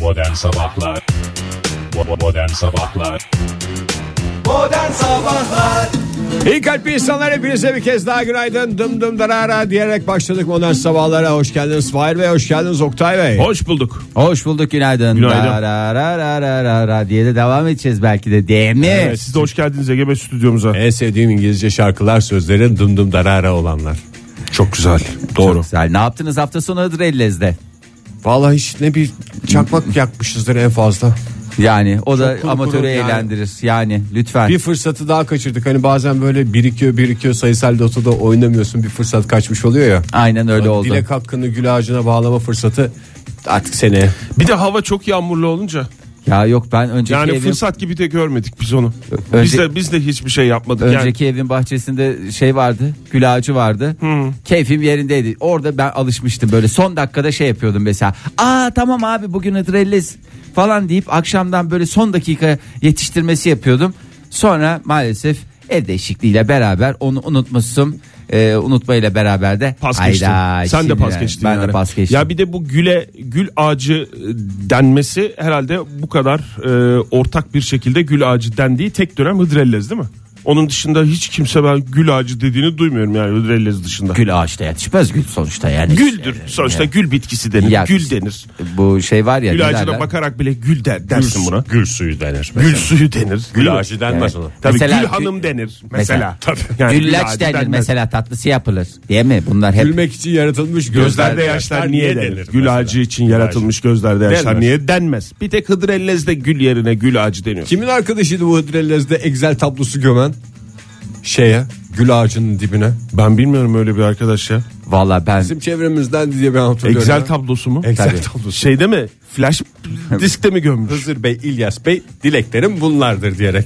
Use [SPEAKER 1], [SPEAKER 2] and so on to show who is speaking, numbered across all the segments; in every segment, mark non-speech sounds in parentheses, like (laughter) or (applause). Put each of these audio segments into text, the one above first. [SPEAKER 1] Modern Sabahlar Bo- Modern Sabahlar
[SPEAKER 2] Modern Sabahlar
[SPEAKER 3] İyi kalpli insanlar hepinize bir kez daha günaydın dım dım darara diyerek başladık modern sabahlara hoş geldiniz Fahir Bey hoş geldiniz Oktay Bey
[SPEAKER 4] Hoş bulduk.
[SPEAKER 5] Hoş bulduk günaydın.
[SPEAKER 4] Günaydın.
[SPEAKER 5] Ra, ra, ra, ra, ra, ra, ra diye de devam edeceğiz belki de değil mi?
[SPEAKER 4] Evet, E, siz de hoş geldiniz Ege Bey stüdyomuza.
[SPEAKER 3] En sevdiğim İngilizce şarkılar sözleri dım dım darara olanlar
[SPEAKER 4] Çok güzel.
[SPEAKER 5] Çok güzel. Ne yaptınız hafta sonu Hıdrellez'de?
[SPEAKER 3] Vallahi hiç ne bir çakmak yakmışızdır en fazla
[SPEAKER 5] Yani o da
[SPEAKER 3] Çok kuru
[SPEAKER 5] amatörü
[SPEAKER 3] kuru yani.
[SPEAKER 5] eğlendirir. Yani, lütfen.
[SPEAKER 3] Bir fırsatı daha kaçırdık hani bazen böyle birikiyor birikiyor sayısal lotoda oynamıyorsun bir fırsat kaçmış oluyor ya
[SPEAKER 5] Aynen öyle oldu.
[SPEAKER 3] Dilek hakkını gül ağacına bağlama fırsatı artık seneye
[SPEAKER 4] Bir de hava çok yağmurlu olunca
[SPEAKER 5] Ya yok ben önceki
[SPEAKER 4] yani
[SPEAKER 5] evim
[SPEAKER 4] fırsat gibi de görmedik biz onu.
[SPEAKER 5] Önce-
[SPEAKER 4] biz de biz de hiçbir şey yapmadık yani.
[SPEAKER 5] önceki evin bahçesinde şey vardı. Gül ağacı vardı. Keyfim yerindeydi. Orada ben alışmıştım böyle son dakikada şey yapıyordum mesela. Aa tamam abi bugün Hıdrellez falan deyip akşamdan böyle son dakika yetiştirmesi yapıyordum. Sonra maalesef ev değişikliğiyle beraber onu unutmuşum. Ee, unutmayla beraber de
[SPEAKER 4] Pas
[SPEAKER 5] hayda
[SPEAKER 4] geçtin. Sen de
[SPEAKER 5] şimdi
[SPEAKER 4] pas
[SPEAKER 5] yani
[SPEAKER 4] geçtin
[SPEAKER 5] Ben
[SPEAKER 4] yani.
[SPEAKER 5] de pas geçtim.
[SPEAKER 4] Ya bir de bu güle gül ağacı e, denmesi herhalde bu kadar e, ortak bir şekilde gül ağacı dendiği tek dönem Hıdrellez değil mi? Onun dışında hiç kimse ben gül ağacı dediğini duymuyorum yani Hıdrellez dışında.
[SPEAKER 5] Gül ağaçta yetişmez gül sonuçta yani. Ee,
[SPEAKER 4] Güldür. Sonuçta gül bitkisi denir.
[SPEAKER 5] Ya-
[SPEAKER 4] gül denir.
[SPEAKER 5] Bu şey var ya.
[SPEAKER 4] Gül
[SPEAKER 5] ne
[SPEAKER 4] ağacına
[SPEAKER 5] derler?
[SPEAKER 4] bakarak bile gül der, dersin buna.
[SPEAKER 1] Gül suyu denir
[SPEAKER 4] Gül suyu denir. Gül ağacı.
[SPEAKER 3] denmez
[SPEAKER 5] Evet.
[SPEAKER 4] Tabii
[SPEAKER 5] Mesela
[SPEAKER 4] gül
[SPEAKER 5] gül-
[SPEAKER 4] hanım denir mesela.
[SPEAKER 5] Mesela.
[SPEAKER 4] Tabii.
[SPEAKER 5] Güllaç denir mesela tatlısı yapılır. Değil mi? Bunlar hep
[SPEAKER 3] Gülmek için yaratılmış
[SPEAKER 4] Gözlerde yaşlar niye denir? Gül ağacı için yaratılmış gözlerde yaşlar
[SPEAKER 3] Denmez.
[SPEAKER 4] niye denmez? Bir tek Hıdrellez'de gül yerine gül ağacı deniyor.
[SPEAKER 3] Kimin arkadaşıydı bu Hıdrellez'de Excel tablosu gömen? Şeye, gül ağacının dibine.
[SPEAKER 4] Ben bilmiyorum öyle bir arkadaş ya.
[SPEAKER 5] valla ben
[SPEAKER 3] Bizim çevremizden diye ben hatırlıyorum.
[SPEAKER 4] Excel
[SPEAKER 3] ya.
[SPEAKER 4] tablosu mu?
[SPEAKER 3] Excel
[SPEAKER 5] Tabii.
[SPEAKER 3] tablosu.
[SPEAKER 4] Şeyde mi? (laughs) Flash diskte mi gömmüş?
[SPEAKER 3] Hızır Bey, İlyas Bey dileklerim bunlardır diyerek.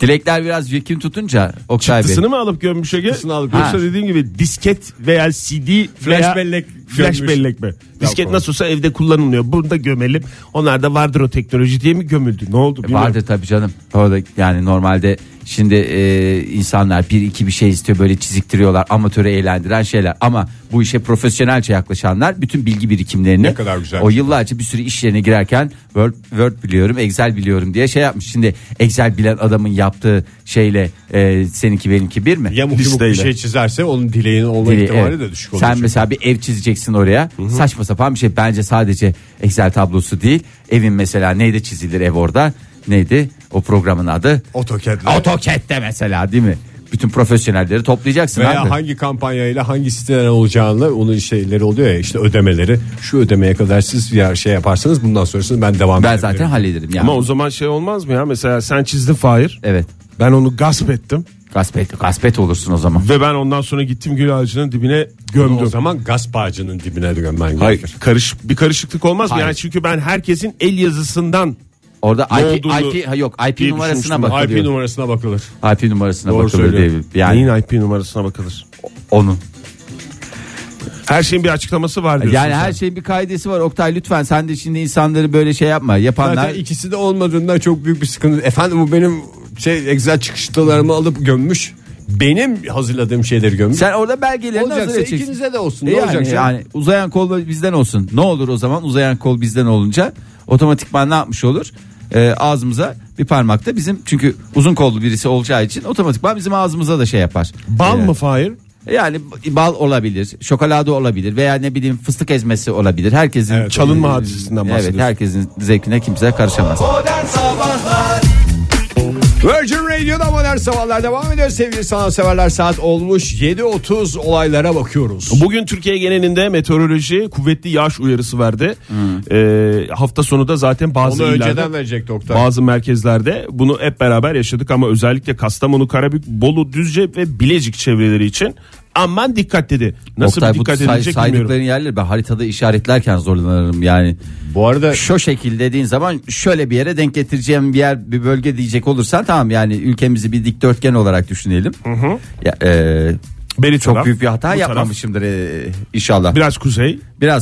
[SPEAKER 5] Dilekler biraz yekin tutunca Oktay Bey.
[SPEAKER 4] Çıktısını mı alıp gömmüş Ege?
[SPEAKER 3] Çıktısını alıp
[SPEAKER 4] Yoksa
[SPEAKER 5] gömmüş.
[SPEAKER 4] dediğim gibi disket veya CD
[SPEAKER 3] Flash
[SPEAKER 4] veya
[SPEAKER 3] bellek
[SPEAKER 4] Flash
[SPEAKER 3] gömmüş.
[SPEAKER 4] bellek mi? Disket
[SPEAKER 3] Yapalım.
[SPEAKER 4] nasıl olsa evde kullanılmıyor. Bunu da gömelim. Onlar da vardır o teknoloji diye mi gömüldü? Ne oldu? bilmiyorum.
[SPEAKER 5] Vardır tabii canım. Orada yani normalde şimdi e, insanlar bir iki bir şey istiyor böyle çiziktiriyorlar amatörü eğlendiren şeyler ama bu işe profesyonelce yaklaşanlar bütün bilgi birikimlerini
[SPEAKER 3] Ne kadar güzel.
[SPEAKER 5] o yıllarca bir sürü iş yerine girerken Word, Word biliyorum Excel biliyorum diye şey yapmış. Şimdi Excel bilen adamın yaptığı şeyle e, seninki benimki bir mi?
[SPEAKER 3] Yamuk yumuk bir
[SPEAKER 4] Listeyle.
[SPEAKER 3] şey çizerse onun dileğinin olma
[SPEAKER 5] Dili,
[SPEAKER 3] ihtimali
[SPEAKER 5] evet.
[SPEAKER 3] de düşük olur.
[SPEAKER 5] Sen mesela bir ev çizeceksin oraya. Saçma sapan bir şey. Bence sadece Excel tablosu değil. Evin mesela neyde çizilir ev orada? Neydi o programın adı?
[SPEAKER 3] AutoCAD'le.
[SPEAKER 5] AutoCAD'de mesela değil mi? Bütün profesyonelleri toplayacaksın
[SPEAKER 3] veya
[SPEAKER 5] abi.
[SPEAKER 3] hangi kampanyayla hangi siteden olacağını onun şeyleri oluyor ya işte ödemeleri şu ödemeye kadar siz bir şey yaparsanız bundan sonrasını ben devam
[SPEAKER 5] ben
[SPEAKER 3] ederim.
[SPEAKER 5] zaten hallederim yani.
[SPEAKER 4] Ama o zaman şey olmaz mı ya? Mesela sen çizdin Fahir.
[SPEAKER 5] Evet.
[SPEAKER 4] Ben onu gasp ettim.
[SPEAKER 5] Gasp et, gasp et olursun o zaman.
[SPEAKER 4] Ve ben ondan sonra gittim gül ağacının dibine
[SPEAKER 3] o
[SPEAKER 4] gömdüm.
[SPEAKER 3] zaman gasp ağacının dibine gömmen
[SPEAKER 4] Hayır.
[SPEAKER 3] gerekir.
[SPEAKER 4] Karış, bir karışıklık olmaz mı?
[SPEAKER 5] Hayır.
[SPEAKER 4] Yani çünkü ben herkesin el yazısından
[SPEAKER 5] Orada
[SPEAKER 4] Ne
[SPEAKER 5] IP,
[SPEAKER 4] olduğunu
[SPEAKER 5] IP ha yok IP
[SPEAKER 4] diye
[SPEAKER 5] numarasına
[SPEAKER 4] düşünmüştüm.
[SPEAKER 5] bakılıyor.
[SPEAKER 3] IP
[SPEAKER 5] IP,
[SPEAKER 3] numarasına bakılır.
[SPEAKER 5] numarasına
[SPEAKER 3] Doğru
[SPEAKER 5] bakılıyor diye.
[SPEAKER 3] söylüyorum.
[SPEAKER 5] Yani
[SPEAKER 4] neyin IP numarasına bakılır.
[SPEAKER 5] onun.
[SPEAKER 4] Her şeyin bir açıklaması var diyorsun.
[SPEAKER 5] Yani
[SPEAKER 4] sen.
[SPEAKER 5] her şey- şeyin bir kaidesi var. Oktay lütfen sen de şimdi insanları böyle şey yapma. Yapanlar
[SPEAKER 3] Zaten ikisi de olmadığından çok büyük bir sıkıntı. Efendim bu benim şey Excel çıkışlarımı alıp gömmüş. Benim hazırladığım şeyleri gömmüş.
[SPEAKER 5] Sen orada belgelerini hazır
[SPEAKER 3] Olacaksa
[SPEAKER 5] edeceksin.
[SPEAKER 3] ikinize de olsun.
[SPEAKER 5] E
[SPEAKER 3] Ne
[SPEAKER 5] yani,
[SPEAKER 3] olacak ya?
[SPEAKER 5] yani uzayan kol bizden olsun. Ne olur o zaman uzayan kol bizden olunca otomatikman ne yapmış olur? Ee, ağzımıza bir parmakta bizim çünkü uzun kollu birisi olacağı için otomatikman bizim ağzımıza da şey yapar.
[SPEAKER 4] Bal
[SPEAKER 5] Ee,
[SPEAKER 4] mı Fahir?
[SPEAKER 5] Yani bal olabilir, şokolade olabilir veya ne bileyim fıstık ezmesi olabilir. Herkesin
[SPEAKER 4] çalınma
[SPEAKER 5] Ee,
[SPEAKER 4] hadisesinden
[SPEAKER 5] Evet,
[SPEAKER 4] bahsediyorsun.
[SPEAKER 5] herkesin zevkine kimse karışamaz.
[SPEAKER 2] Modern Sabahlar
[SPEAKER 3] Virgin Radio'da modern sabahlar devam ediyor. Sevgili sanatseverler saat olmuş 7.30 olaylara bakıyoruz.
[SPEAKER 4] Bugün Türkiye genelinde meteoroloji kuvvetli yağış uyarısı verdi. Ee, hafta sonu da zaten bazı
[SPEAKER 3] Hmm. Onu
[SPEAKER 4] illerde-
[SPEAKER 3] önceden verecek doktor.
[SPEAKER 4] Bazı merkezlerde bunu hep beraber yaşadık ama özellikle Kastamonu, Karabük, Bolu, Düzce ve Bilecik çevreleri için aman dikkat dedi. Nasıl
[SPEAKER 5] Oktay,
[SPEAKER 4] bir
[SPEAKER 5] bu
[SPEAKER 4] dikkat
[SPEAKER 5] say-
[SPEAKER 4] edilecek
[SPEAKER 5] saydıkların
[SPEAKER 4] bilmiyorum.
[SPEAKER 5] yerleri ben haritada işaretlerken zorlanırım yani.
[SPEAKER 3] Bu arada
[SPEAKER 5] şu şekil dediğin zaman şöyle bir yere denk getireceğim bir yer bir bölge diyecek olursan tamam yani ülkemizi bir dikdörtgen olarak düşünelim. Ya, e,
[SPEAKER 4] Beri
[SPEAKER 5] çok
[SPEAKER 4] taraf,
[SPEAKER 5] büyük bir
[SPEAKER 4] bu
[SPEAKER 5] hata
[SPEAKER 4] taraf,
[SPEAKER 5] yapmamışımdır e, inşallah. Biraz,
[SPEAKER 4] Biraz kuzey,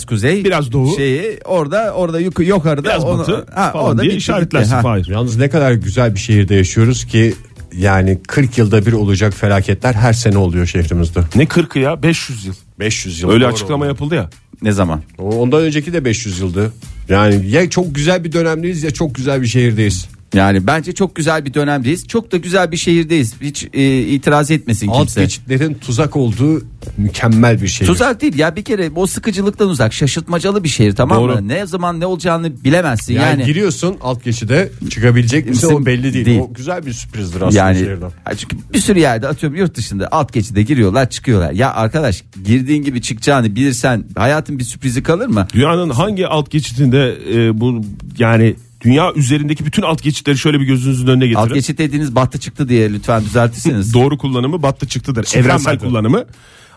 [SPEAKER 5] kuzey,
[SPEAKER 4] biraz doğu.
[SPEAKER 5] Şeyi orada orada yukarı yukarıda
[SPEAKER 4] biraz
[SPEAKER 5] onu-
[SPEAKER 4] batı
[SPEAKER 5] ha,
[SPEAKER 4] falan
[SPEAKER 5] orada
[SPEAKER 4] diye
[SPEAKER 5] bitti,
[SPEAKER 4] işaretlersin
[SPEAKER 5] bitti. Ha.
[SPEAKER 4] Fahir.
[SPEAKER 3] yalnız ne kadar güzel bir şehirde yaşıyoruz ki yani 40 yılda bir olacak felaketler her sene oluyor şehrimizde.
[SPEAKER 4] Ne 40'ı ya 500 yıl.
[SPEAKER 3] 500 yıl.
[SPEAKER 4] Öyle
[SPEAKER 3] Doğru.
[SPEAKER 4] açıklama yapıldı ya.
[SPEAKER 5] Ne zaman?
[SPEAKER 3] Ondan önceki de 500 yıldı. Yani ya çok güzel bir dönemdeyiz ya çok güzel bir şehirdeyiz.
[SPEAKER 5] Yani bence çok güzel bir dönemdeyiz. Çok da güzel bir şehirdeyiz. Hiç e, itiraz etmesin
[SPEAKER 3] Alt
[SPEAKER 5] kimse.
[SPEAKER 3] geçitlerin tuzak olduğu mükemmel bir şehir.
[SPEAKER 5] Tuzak değil ya bir kere o sıkıcılıktan uzak şaşırtmacalı bir şehir tamam
[SPEAKER 4] Doğru.
[SPEAKER 5] mı? Ne zaman ne olacağını bilemezsin
[SPEAKER 3] Yani,
[SPEAKER 5] yani.
[SPEAKER 3] giriyorsun alt geçide çıkabilecek misin
[SPEAKER 5] Misin?
[SPEAKER 3] o belli değil.
[SPEAKER 5] Değil.
[SPEAKER 3] O güzel bir sürprizdir aslında
[SPEAKER 5] yani
[SPEAKER 3] şehirden.
[SPEAKER 5] Ya çünkü bir sürü yerde atıyorum yurt dışında alt geçide giriyorlar çıkıyorlar. Ya arkadaş girdiğin gibi çıkacağını bilirsen hayatın bir sürprizi kalır mı?
[SPEAKER 4] Dünyanın hangi alt geçitinde e, bu yani dünya üzerindeki bütün alt geçitleri şöyle bir gözünüzün önüne getirin.
[SPEAKER 5] Alt geçit dediğiniz battı çıktı diye lütfen
[SPEAKER 4] (laughs)
[SPEAKER 5] düzeltirseniz.
[SPEAKER 4] Doğru kullanımı battı çıktıdır. Evrensel kullanımı.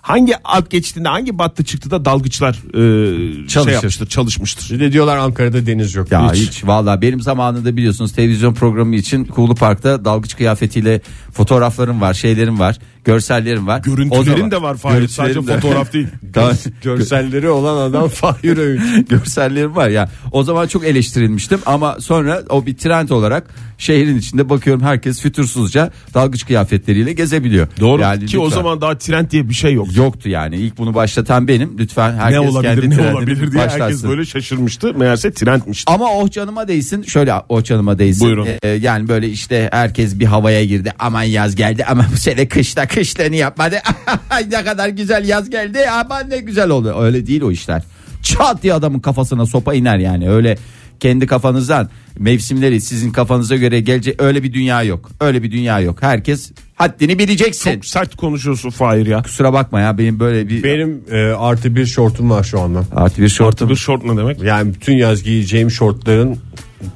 [SPEAKER 4] Hangi alt geçitinde hangi battı çıktı da dalgıçlar e, şey
[SPEAKER 5] Çalışır.
[SPEAKER 4] yapmıştır, çalışmıştır.
[SPEAKER 3] Bir de diyorlar Ankara'da deniz yok.
[SPEAKER 5] Ya hiç. vallahi benim zamanında biliyorsunuz televizyon programı için Kuğulu Park'ta dalgıç kıyafetiyle fotoğraflarım var, şeylerim var, görsellerim var. O zaman-
[SPEAKER 4] Görüntülerin de var Fahir. Sadece
[SPEAKER 5] Görüntülerim de- (laughs)
[SPEAKER 4] fotoğraf değil.
[SPEAKER 5] Daha-
[SPEAKER 3] Görselleri olan adam (laughs) Fahir Öğünç.
[SPEAKER 5] (laughs) görsellerim var ya. O zaman çok eleştirilmiştim ama sonra o bir trend olarak şehrin içinde bakıyorum herkes fütursuzca dalgıç kıyafetleriyle gezebiliyor.
[SPEAKER 4] Doğru
[SPEAKER 5] Yani
[SPEAKER 4] ki
[SPEAKER 5] lütfen.
[SPEAKER 4] o zaman daha trend diye bir şey yok.
[SPEAKER 5] yoktu yani. İlk bunu başlatan benim. Lütfen herkes
[SPEAKER 4] ne
[SPEAKER 5] kendi
[SPEAKER 4] olabilir ne
[SPEAKER 5] trendini
[SPEAKER 4] olabilir diye herkes
[SPEAKER 5] başlatsın.
[SPEAKER 4] böyle şaşırmıştı. Meğerse trendmişti.
[SPEAKER 5] Ama oh canıma değsin. Şöyle oh canıma değsin.
[SPEAKER 4] Buyurun.
[SPEAKER 5] Ee, yani böyle işte herkes bir havaya girdi. Aman yaz geldi ama bu sene kışta kışlarını yapmadı. (laughs) Ay ne kadar güzel yaz geldi. Aman ne güzel oldu. Öyle değil o işler. Çat diye adamın kafasına sopa iner yani. Öyle kendi kafanızdan mevsimleri sizin kafanıza göre gelecek öyle bir dünya yok. Öyle bir dünya yok. Herkes haddini bileceksin.
[SPEAKER 4] Çok sert konuşuyorsun Fahir ya.
[SPEAKER 5] Kusura bakma ya benim böyle bir
[SPEAKER 3] Benim e, artı bir şortum var şu anda.
[SPEAKER 5] artı bir şortum.
[SPEAKER 4] Bir short ne demek?
[SPEAKER 3] Yani bütün yaz giyeceğim şortların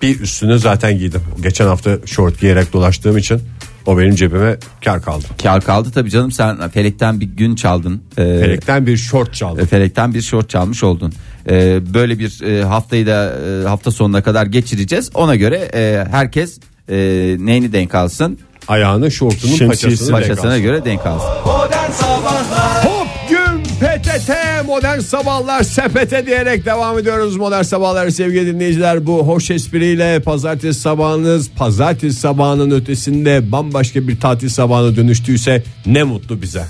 [SPEAKER 3] bir üstünü zaten giydim. Geçen hafta şort giyerek dolaştığım için o benim cebime kar kaldı.
[SPEAKER 5] Kar kaldı tabii canım sen felekten bir gün çaldın. Ee,
[SPEAKER 3] Felekten bir şort çaldım.
[SPEAKER 5] Felekten bir şort çalmış oldun. Ee, böyle bir e, haftayı da e, hafta sonuna kadar geçireceğiz. Ona göre e, herkes e, neyini denk alsın?
[SPEAKER 3] Ayağını şortunun
[SPEAKER 4] Şemsiyesi.
[SPEAKER 3] paçasını
[SPEAKER 5] Paçasına göre denk alsın.
[SPEAKER 2] Modern Sabahlar
[SPEAKER 3] Hop gün PTT modern sabahlar sepete diyerek devam ediyoruz modern sabahlar sevgili dinleyiciler bu hoş espriyle pazartesi sabahınız pazartesi sabahının ötesinde bambaşka bir tatil sabahına dönüştüyse ne mutlu bize.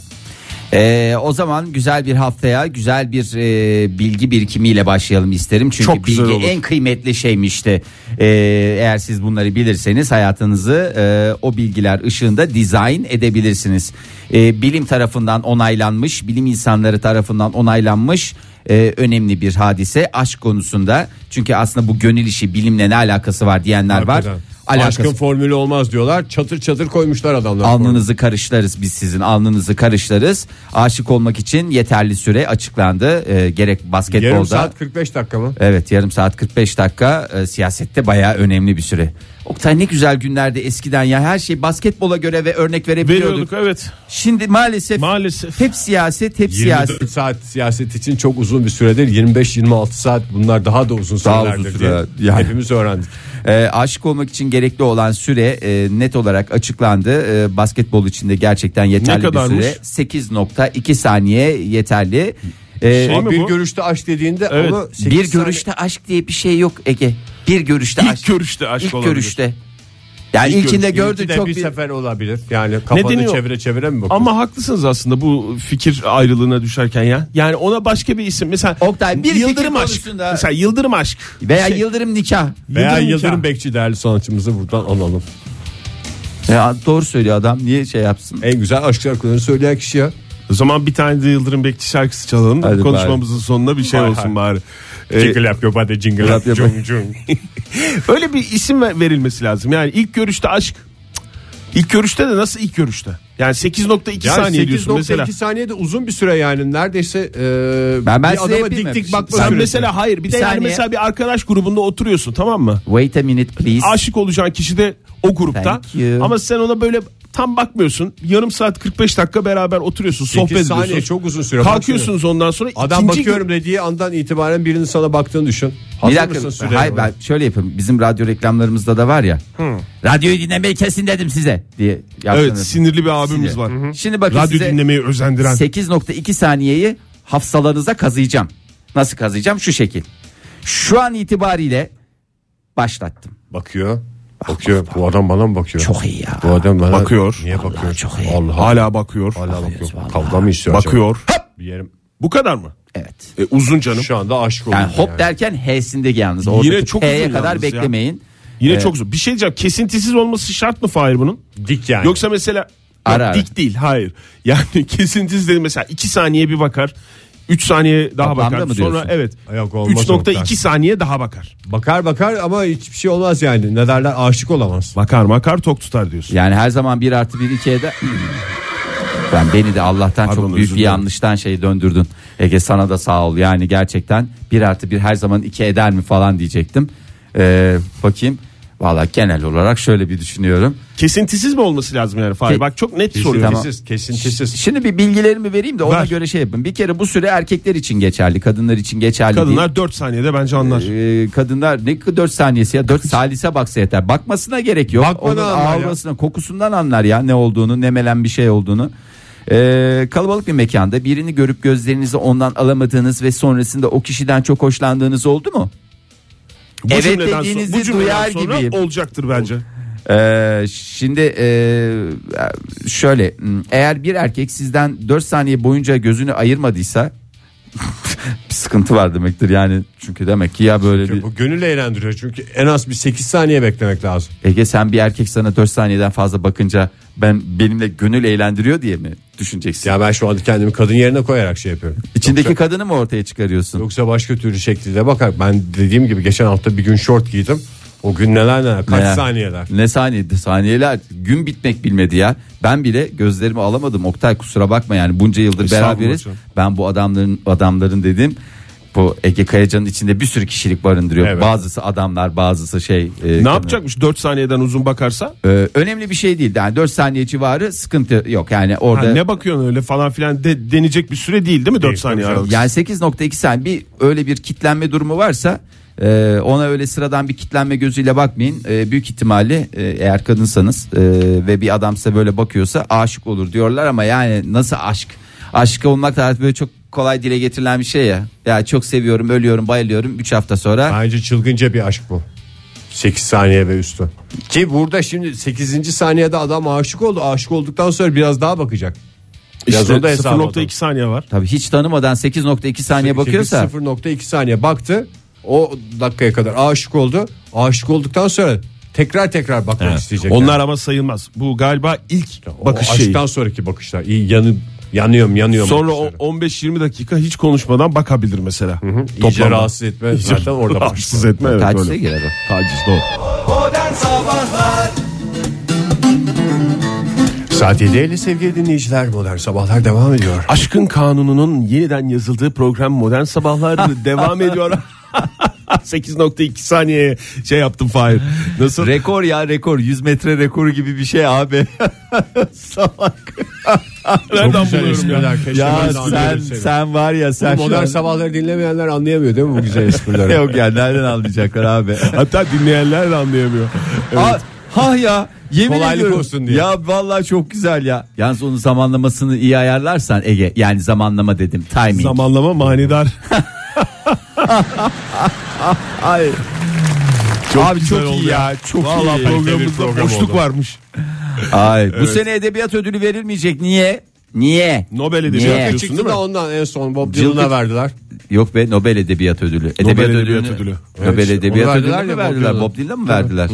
[SPEAKER 5] Ee, o zaman güzel bir haftaya güzel bir e, bilgi birikimiyle başlayalım isterim. Çünkü
[SPEAKER 4] Çok güzel
[SPEAKER 5] bilgi
[SPEAKER 4] olur.
[SPEAKER 5] en kıymetli şeymişti. Ee, eğer siz bunları bilirseniz hayatınızı e, o bilgiler ışığında dizayn edebilirsiniz. Ee, bilim tarafından onaylanmış, bilim insanları tarafından onaylanmış e, önemli bir hadise aşk konusunda. Çünkü aslında bu gönül işi bilimle ne alakası var diyenler var.
[SPEAKER 3] Hakikaten.
[SPEAKER 5] Alakası
[SPEAKER 3] Aşkın formülü olmaz diyorlar çatır çatır koymuşlar adamlar. formülü.
[SPEAKER 5] Alnınızı karışlarız biz sizin alnınızı karışlarız. Aşık olmak için yeterli süre açıklandı. Ee, gerek basketbolda.
[SPEAKER 3] Yarım saat 45 dakika mı?
[SPEAKER 5] Evet yarım saat 45 dakika e, siyasette bayağı önemli bir süre. Oktay ne güzel günlerde eskiden ya her şey basketbola göre ve örnek verebiliyorduk.
[SPEAKER 4] Veriyorduk evet.
[SPEAKER 5] Şimdi maalesef,
[SPEAKER 4] Maalesef.
[SPEAKER 5] hep siyaset hep
[SPEAKER 3] 24
[SPEAKER 5] siyaset.
[SPEAKER 3] Ee, saat siyaset için çok uzun bir süredir 25-26 saat bunlar daha da uzun
[SPEAKER 5] Daha
[SPEAKER 3] sürelerdir
[SPEAKER 5] uzun
[SPEAKER 3] diye
[SPEAKER 5] süre, yani.
[SPEAKER 3] hepimiz öğrendik.
[SPEAKER 5] Ee, aşık olmak için gerekli olan süre e, net olarak açıklandı. Ee, basketbol için de gerçekten yeterli bir
[SPEAKER 4] kadarmış?
[SPEAKER 5] süre. 8.2 saniye yeterli. Ee,
[SPEAKER 4] Şey mi
[SPEAKER 3] bir
[SPEAKER 4] bu?
[SPEAKER 3] görüşte aş dediğinde
[SPEAKER 4] Evet.
[SPEAKER 3] onu sekiz
[SPEAKER 5] Bir
[SPEAKER 3] saniye-
[SPEAKER 5] görüşte aşk diye bir şey yok Ege. Bir görüşte
[SPEAKER 4] İlk
[SPEAKER 5] aşk.
[SPEAKER 4] görüşte aşk
[SPEAKER 5] İlk
[SPEAKER 4] olabilir.
[SPEAKER 5] görüşte. Yani
[SPEAKER 3] İlk
[SPEAKER 5] ilkinde
[SPEAKER 3] görüş-
[SPEAKER 5] gördün
[SPEAKER 3] ilki de
[SPEAKER 5] çok
[SPEAKER 3] bir,
[SPEAKER 5] bir-
[SPEAKER 3] sefer olabilir. Yani kafanı
[SPEAKER 4] deniyor?
[SPEAKER 3] çevire çevire mi bakıyorsun?
[SPEAKER 4] Ama haklısınız aslında bu fikir ayrılığına düşerken ya. Yani ona başka bir isim mesela
[SPEAKER 5] Oktay, bir fikir
[SPEAKER 4] Yıldırım aşk.
[SPEAKER 5] konusunda-
[SPEAKER 4] Mesela Yıldırım aşk. Şey,
[SPEAKER 5] veya yıldırım nikah.
[SPEAKER 3] Veya
[SPEAKER 4] Yıldırım
[SPEAKER 3] Yıldırım,
[SPEAKER 4] nikah.
[SPEAKER 3] Bekçi değerli sanatçımızı buradan alalım.
[SPEAKER 5] Ya doğru söylüyor adam. Niye şey yapsın?
[SPEAKER 3] En güzel aşk şarkılarını söyleyen kişi ya.
[SPEAKER 4] O zaman bir tane de Yıldırım Bekçi şarkısı çalalım.
[SPEAKER 5] Hadi
[SPEAKER 4] Konuşmamızın sonuna bir şey
[SPEAKER 3] Hay
[SPEAKER 4] olsun
[SPEAKER 3] hay.
[SPEAKER 4] bari. Ee,
[SPEAKER 3] Jingle yap yo bade jingle yap
[SPEAKER 5] Yap yo
[SPEAKER 3] cung cung.
[SPEAKER 4] öyle bir isim ver- verilmesi lazım. Yani ilk görüşte aşk. İlk görüşte de nasıl ilk görüşte? Yani 8.2
[SPEAKER 3] Yani
[SPEAKER 4] saniye diyorsun mesela.
[SPEAKER 3] 8.2 saniyede uzun bir süre yani neredeyse e,
[SPEAKER 5] Ben- ben
[SPEAKER 3] bir
[SPEAKER 5] size
[SPEAKER 3] adama
[SPEAKER 5] yapayım
[SPEAKER 3] dik
[SPEAKER 5] mı?
[SPEAKER 3] dik bakma
[SPEAKER 4] Sen
[SPEAKER 3] süresi.
[SPEAKER 4] mesela hayır bir de
[SPEAKER 5] Bir
[SPEAKER 4] yani
[SPEAKER 5] saniye.
[SPEAKER 4] mesela bir arkadaş grubunda oturuyorsun tamam mı?
[SPEAKER 5] Wait a minute please.
[SPEAKER 4] Aşık olacağın kişi de o grupta.
[SPEAKER 5] Thank you.
[SPEAKER 4] Ama sen ona böyle tam bakmıyorsun. Yarım saat 45 dakika beraber oturuyorsun, sohbet
[SPEAKER 3] Sekiz
[SPEAKER 4] ediyorsun.
[SPEAKER 3] saniye çok uzun süre. Baksana.
[SPEAKER 4] Kalkıyorsunuz ondan sonra
[SPEAKER 3] Adam
[SPEAKER 4] ikinci
[SPEAKER 3] bakıyorum dediği andan itibaren birinin sana baktığını düşün.
[SPEAKER 5] bir
[SPEAKER 3] Hazır mısın
[SPEAKER 5] dakika.
[SPEAKER 3] süre?
[SPEAKER 5] Hayır ben şöyle yapayım. Bizim radyo reklamlarımızda da var ya. Radyoyu dinlemeyi kesin dedim size diye
[SPEAKER 4] Evet
[SPEAKER 5] yaptınız.
[SPEAKER 4] sinirli bir abimiz var.
[SPEAKER 5] Şimdi bakın
[SPEAKER 4] Radyo
[SPEAKER 5] size
[SPEAKER 4] dinlemeyi özendiren.
[SPEAKER 5] 8.2 saniyeyi hafsalarınıza kazıyacağım. Nasıl kazıyacağım? Şu şekil. Şu an itibariyle başlattım.
[SPEAKER 3] Bakıyor.
[SPEAKER 4] (laughs)
[SPEAKER 3] Bakıyor. Bu adam bana mı bakıyor?
[SPEAKER 5] Çok iyi ya.
[SPEAKER 3] Bu adam bana
[SPEAKER 4] Bakıyor.
[SPEAKER 3] Niye bakıyor?
[SPEAKER 5] çok iyi.
[SPEAKER 3] Allah.
[SPEAKER 4] Hala bakıyor.
[SPEAKER 3] Hala bakıyor.
[SPEAKER 5] vallahi.
[SPEAKER 3] Kavga mı istiyor? acaba?
[SPEAKER 4] bakıyor.
[SPEAKER 3] Bir yerim
[SPEAKER 4] Bu kadar mı?
[SPEAKER 5] Evet.
[SPEAKER 4] E, uzun canım.
[SPEAKER 3] Şu anda aşk oldu.
[SPEAKER 5] Yani hop derken H'sindeki yalnız. Oradaki Yine
[SPEAKER 4] çok
[SPEAKER 5] çok
[SPEAKER 4] uzun
[SPEAKER 5] H'ye kadar
[SPEAKER 4] yalnız ya.
[SPEAKER 5] beklemeyin.
[SPEAKER 4] Yine çok zor. Bir şey diyeceğim. Kesintisiz olması şart mı Fahir bunun?
[SPEAKER 3] Dik yani.
[SPEAKER 4] Yoksa mesela Ya
[SPEAKER 5] Ara ara.
[SPEAKER 4] dik değil hayır. (laughs) Yani kesintisiz dedim mesela 2 saniye bir bakar. 3 saniye daha
[SPEAKER 5] Toplamda
[SPEAKER 4] bakar.
[SPEAKER 5] mı
[SPEAKER 4] Sonra
[SPEAKER 5] diyorsun?
[SPEAKER 4] evet.
[SPEAKER 3] Yok, olmaz Oktay.
[SPEAKER 4] 3.2 saniye daha bakar.
[SPEAKER 3] Bakar bakar ama hiçbir şey olmaz yani. Ne derler aşık olamaz.
[SPEAKER 4] Bakar makar tok tutar diyorsun.
[SPEAKER 5] Yani her zaman 1 artı 1 2'ye de ben beni de Allah'tan
[SPEAKER 4] Pardon,
[SPEAKER 5] çok büyük
[SPEAKER 4] özür
[SPEAKER 5] bir
[SPEAKER 4] dilerim.
[SPEAKER 5] yanlıştan şey döndürdün. Ege sana da sağ ol. Yani gerçekten 1 artı 1 her zaman 2 eder mi falan diyecektim. Ee, bakayım. Valla genel olarak şöyle bir düşünüyorum.
[SPEAKER 4] Kesintisiz mi olması lazım yani Fahir?
[SPEAKER 5] Ke-
[SPEAKER 4] Bak çok net soruyorum.
[SPEAKER 5] Tamam.
[SPEAKER 3] Kesintisiz, kesintisiz.
[SPEAKER 5] Şimdi bir bilgilerimi vereyim de ona
[SPEAKER 4] Ver.
[SPEAKER 5] göre şey yapın. Bir kere bu süre erkekler için geçerli, kadınlar için geçerli değil.
[SPEAKER 4] Kadınlar 4 saniyede bence anlar.
[SPEAKER 5] Ee, kadınlar ne 4 saniyesi ya 4 salise baksa yeter. Bakmasına gerek yok.
[SPEAKER 3] Bakmadan
[SPEAKER 5] Onun
[SPEAKER 3] anlar ya.
[SPEAKER 5] avrasına, kokusundan anlar ya ne olduğunu, ne melen bir şey olduğunu. Ee, kalabalık bir mekanda birini görüp gözlerinizi ondan alamadığınız ve sonrasında o kişiden çok hoşlandığınız oldu mu?
[SPEAKER 4] bu
[SPEAKER 5] evet
[SPEAKER 4] cümleden,
[SPEAKER 5] dediğinizi
[SPEAKER 4] so- bu cümleden
[SPEAKER 5] duyar
[SPEAKER 4] sonra
[SPEAKER 5] gibiyim.
[SPEAKER 4] olacaktır bence.
[SPEAKER 5] Ee, şimdi e, şöyle hmm, eğer bir erkek sizden 4 saniye boyunca gözünü ayırmadıysa (laughs) bir sıkıntı var demektir yani çünkü demek ki ya böyle bir
[SPEAKER 3] Bu gönül eğlendiriyor çünkü en az bir 8 saniye beklemek lazım.
[SPEAKER 5] Ege sen bir erkek sana 4 saniyeden fazla bakınca ben benimle gönül eğlendiriyor diye mi düşüneceksin?
[SPEAKER 3] Ya ben şu anda kendimi kadın yerine koyarak şey yapıyorum.
[SPEAKER 5] İçindeki kadını mı ortaya çıkarıyorsun?
[SPEAKER 3] Yoksa başka türlü şekilde bakar. Ben dediğim gibi geçen hafta bir gün short giydim. O gün neler neler kaç
[SPEAKER 5] Ne?
[SPEAKER 3] saniyeler.
[SPEAKER 5] Ne saniyede saniyeler gün bitmek bilmedi ya. Ben bile gözlerimi alamadım Oktay kusura bakma yani bunca yıldır
[SPEAKER 4] Estağfurullah
[SPEAKER 5] beraberiz.
[SPEAKER 4] canım.
[SPEAKER 5] Ben bu adamların adamların dedim bu Ege Kayacan'ın içinde bir sürü kişilik barındırıyor.
[SPEAKER 3] Evet.
[SPEAKER 5] Bazısı adamlar bazısı şey. e,
[SPEAKER 4] Ne
[SPEAKER 5] kadın.
[SPEAKER 4] yapacakmış 4 saniyeden uzun bakarsa?
[SPEAKER 5] E, önemli bir şey değil. Yani 4 saniye civarı sıkıntı yok. Yani
[SPEAKER 4] Ha,
[SPEAKER 5] orada
[SPEAKER 4] ne bakıyorsun öyle falan filan de, denecek bir süre değil değil mi 4 saniye
[SPEAKER 3] tabii canım.
[SPEAKER 4] aralık?
[SPEAKER 5] Yani 8.2 saniye bir öyle bir kitlenme durumu varsa e, ona öyle sıradan bir kitlenme gözüyle bakmayın. E, büyük ihtimalle e, eğer kadınsanız e, ve bir adam size böyle bakıyorsa aşık olur diyorlar ama yani nasıl aşk? Aşık olmak da artık böyle çok kolay dile getirilen bir şey ya. Ya çok seviyorum, ölüyorum, bayılıyorum. 3 hafta sonra
[SPEAKER 3] Bence çılgınca bir aşk bu. 8 saniye ve üstü. Ki burada şimdi 8. saniyede adam aşık oldu. Aşık olduktan sonra biraz daha bakacak. Biraz
[SPEAKER 4] İşte
[SPEAKER 3] onu da hesaba
[SPEAKER 4] 0.2 saniye var.
[SPEAKER 5] tabii hiç tanımadan 8.2 saniye bakıyorsa
[SPEAKER 3] 0.2 saniye baktı. O dakikaya kadar aşık oldu. Aşık olduktan sonra tekrar tekrar bakmak isteyecek.
[SPEAKER 4] Onlar
[SPEAKER 3] yani.
[SPEAKER 4] ama sayılmaz. Bu galiba ilk
[SPEAKER 3] O
[SPEAKER 4] bakış şeyi.
[SPEAKER 3] aşktan sonra sonraki bakışlar. İyi yanı yanıyorum yanıyorum.
[SPEAKER 4] Sonra o
[SPEAKER 3] bakışları.
[SPEAKER 4] 15-20 dakika hiç konuşmadan bakabilir mesela. Hı hı.
[SPEAKER 3] İyice rahatsız etme. Zaten orada
[SPEAKER 4] rahatsız
[SPEAKER 3] başlıyor.
[SPEAKER 4] etme evet
[SPEAKER 5] tacize
[SPEAKER 4] öyle.
[SPEAKER 5] girer o.
[SPEAKER 4] Taciz doğru.
[SPEAKER 2] Modern Sabahlar
[SPEAKER 3] Saat 7.50 sevgili dinleyiciler. Modern Sabahlar devam ediyor.
[SPEAKER 4] Aşkın kanununun yeniden yazıldığı program
[SPEAKER 5] (laughs)
[SPEAKER 4] Modern Sabahlar devam ediyor. (laughs) 8.2 saniye şey yaptım Fahir. Nasıl?
[SPEAKER 5] Rekor ya rekor 100 metre rekoru gibi bir şey abi. (laughs) Salak.
[SPEAKER 4] Nereden
[SPEAKER 3] güzel
[SPEAKER 4] buluyorum ya?
[SPEAKER 3] espriler. Keşke
[SPEAKER 5] Ya
[SPEAKER 3] ben de
[SPEAKER 5] sen
[SPEAKER 3] anlıyorum seni.
[SPEAKER 5] sen var ya sen şu
[SPEAKER 3] Modern
[SPEAKER 5] an-
[SPEAKER 3] sabahları dinlemeyenler anlayamıyor değil mi bu güzel
[SPEAKER 4] (laughs)
[SPEAKER 3] esprileri?
[SPEAKER 5] Yok yani nereden anlayacaklar abi?
[SPEAKER 4] Hatta dinleyenler de anlayamıyor. Evet.
[SPEAKER 5] Ha, ha ya yemin
[SPEAKER 3] Kolaylık
[SPEAKER 5] ediyorum.
[SPEAKER 3] olsun diye.
[SPEAKER 5] Ya vallahi çok güzel ya. Yalnız onun zamanlamasını iyi ayarlarsan Ege yani zamanlama dedim timing.
[SPEAKER 4] Zamanlama manidar. (laughs)
[SPEAKER 5] Ay.
[SPEAKER 4] Çok
[SPEAKER 5] Abi
[SPEAKER 4] güzel
[SPEAKER 5] çok iyi
[SPEAKER 4] oldu
[SPEAKER 5] ya, çok
[SPEAKER 4] Vallahi
[SPEAKER 5] iyi.
[SPEAKER 4] programımızda
[SPEAKER 3] Kaliteli bir program
[SPEAKER 4] boşluk
[SPEAKER 3] oldu.
[SPEAKER 4] varmış.
[SPEAKER 5] Ay bu sene edebiyat ödülü verilmeyecek niye? Niye?
[SPEAKER 4] Nobel
[SPEAKER 5] Niye?
[SPEAKER 4] Edebiyat diyorsun değil
[SPEAKER 3] Çıktı
[SPEAKER 4] mi?
[SPEAKER 3] da ondan en son Bob
[SPEAKER 5] Cılgın-
[SPEAKER 3] Dylan'a verdiler.
[SPEAKER 5] Yok be Nobel Edebiyat Ödülü. Edebiyat
[SPEAKER 4] Edebiyat
[SPEAKER 5] ödülünü-
[SPEAKER 4] Ödülü.
[SPEAKER 5] Nobel
[SPEAKER 3] Evet,
[SPEAKER 5] Edebiyat
[SPEAKER 3] onu
[SPEAKER 5] Ödülü
[SPEAKER 3] verdiler ya
[SPEAKER 5] mü
[SPEAKER 3] Bob
[SPEAKER 5] verdiler?
[SPEAKER 3] Dylan'a.
[SPEAKER 5] Bob Dylan'a mı verdiler?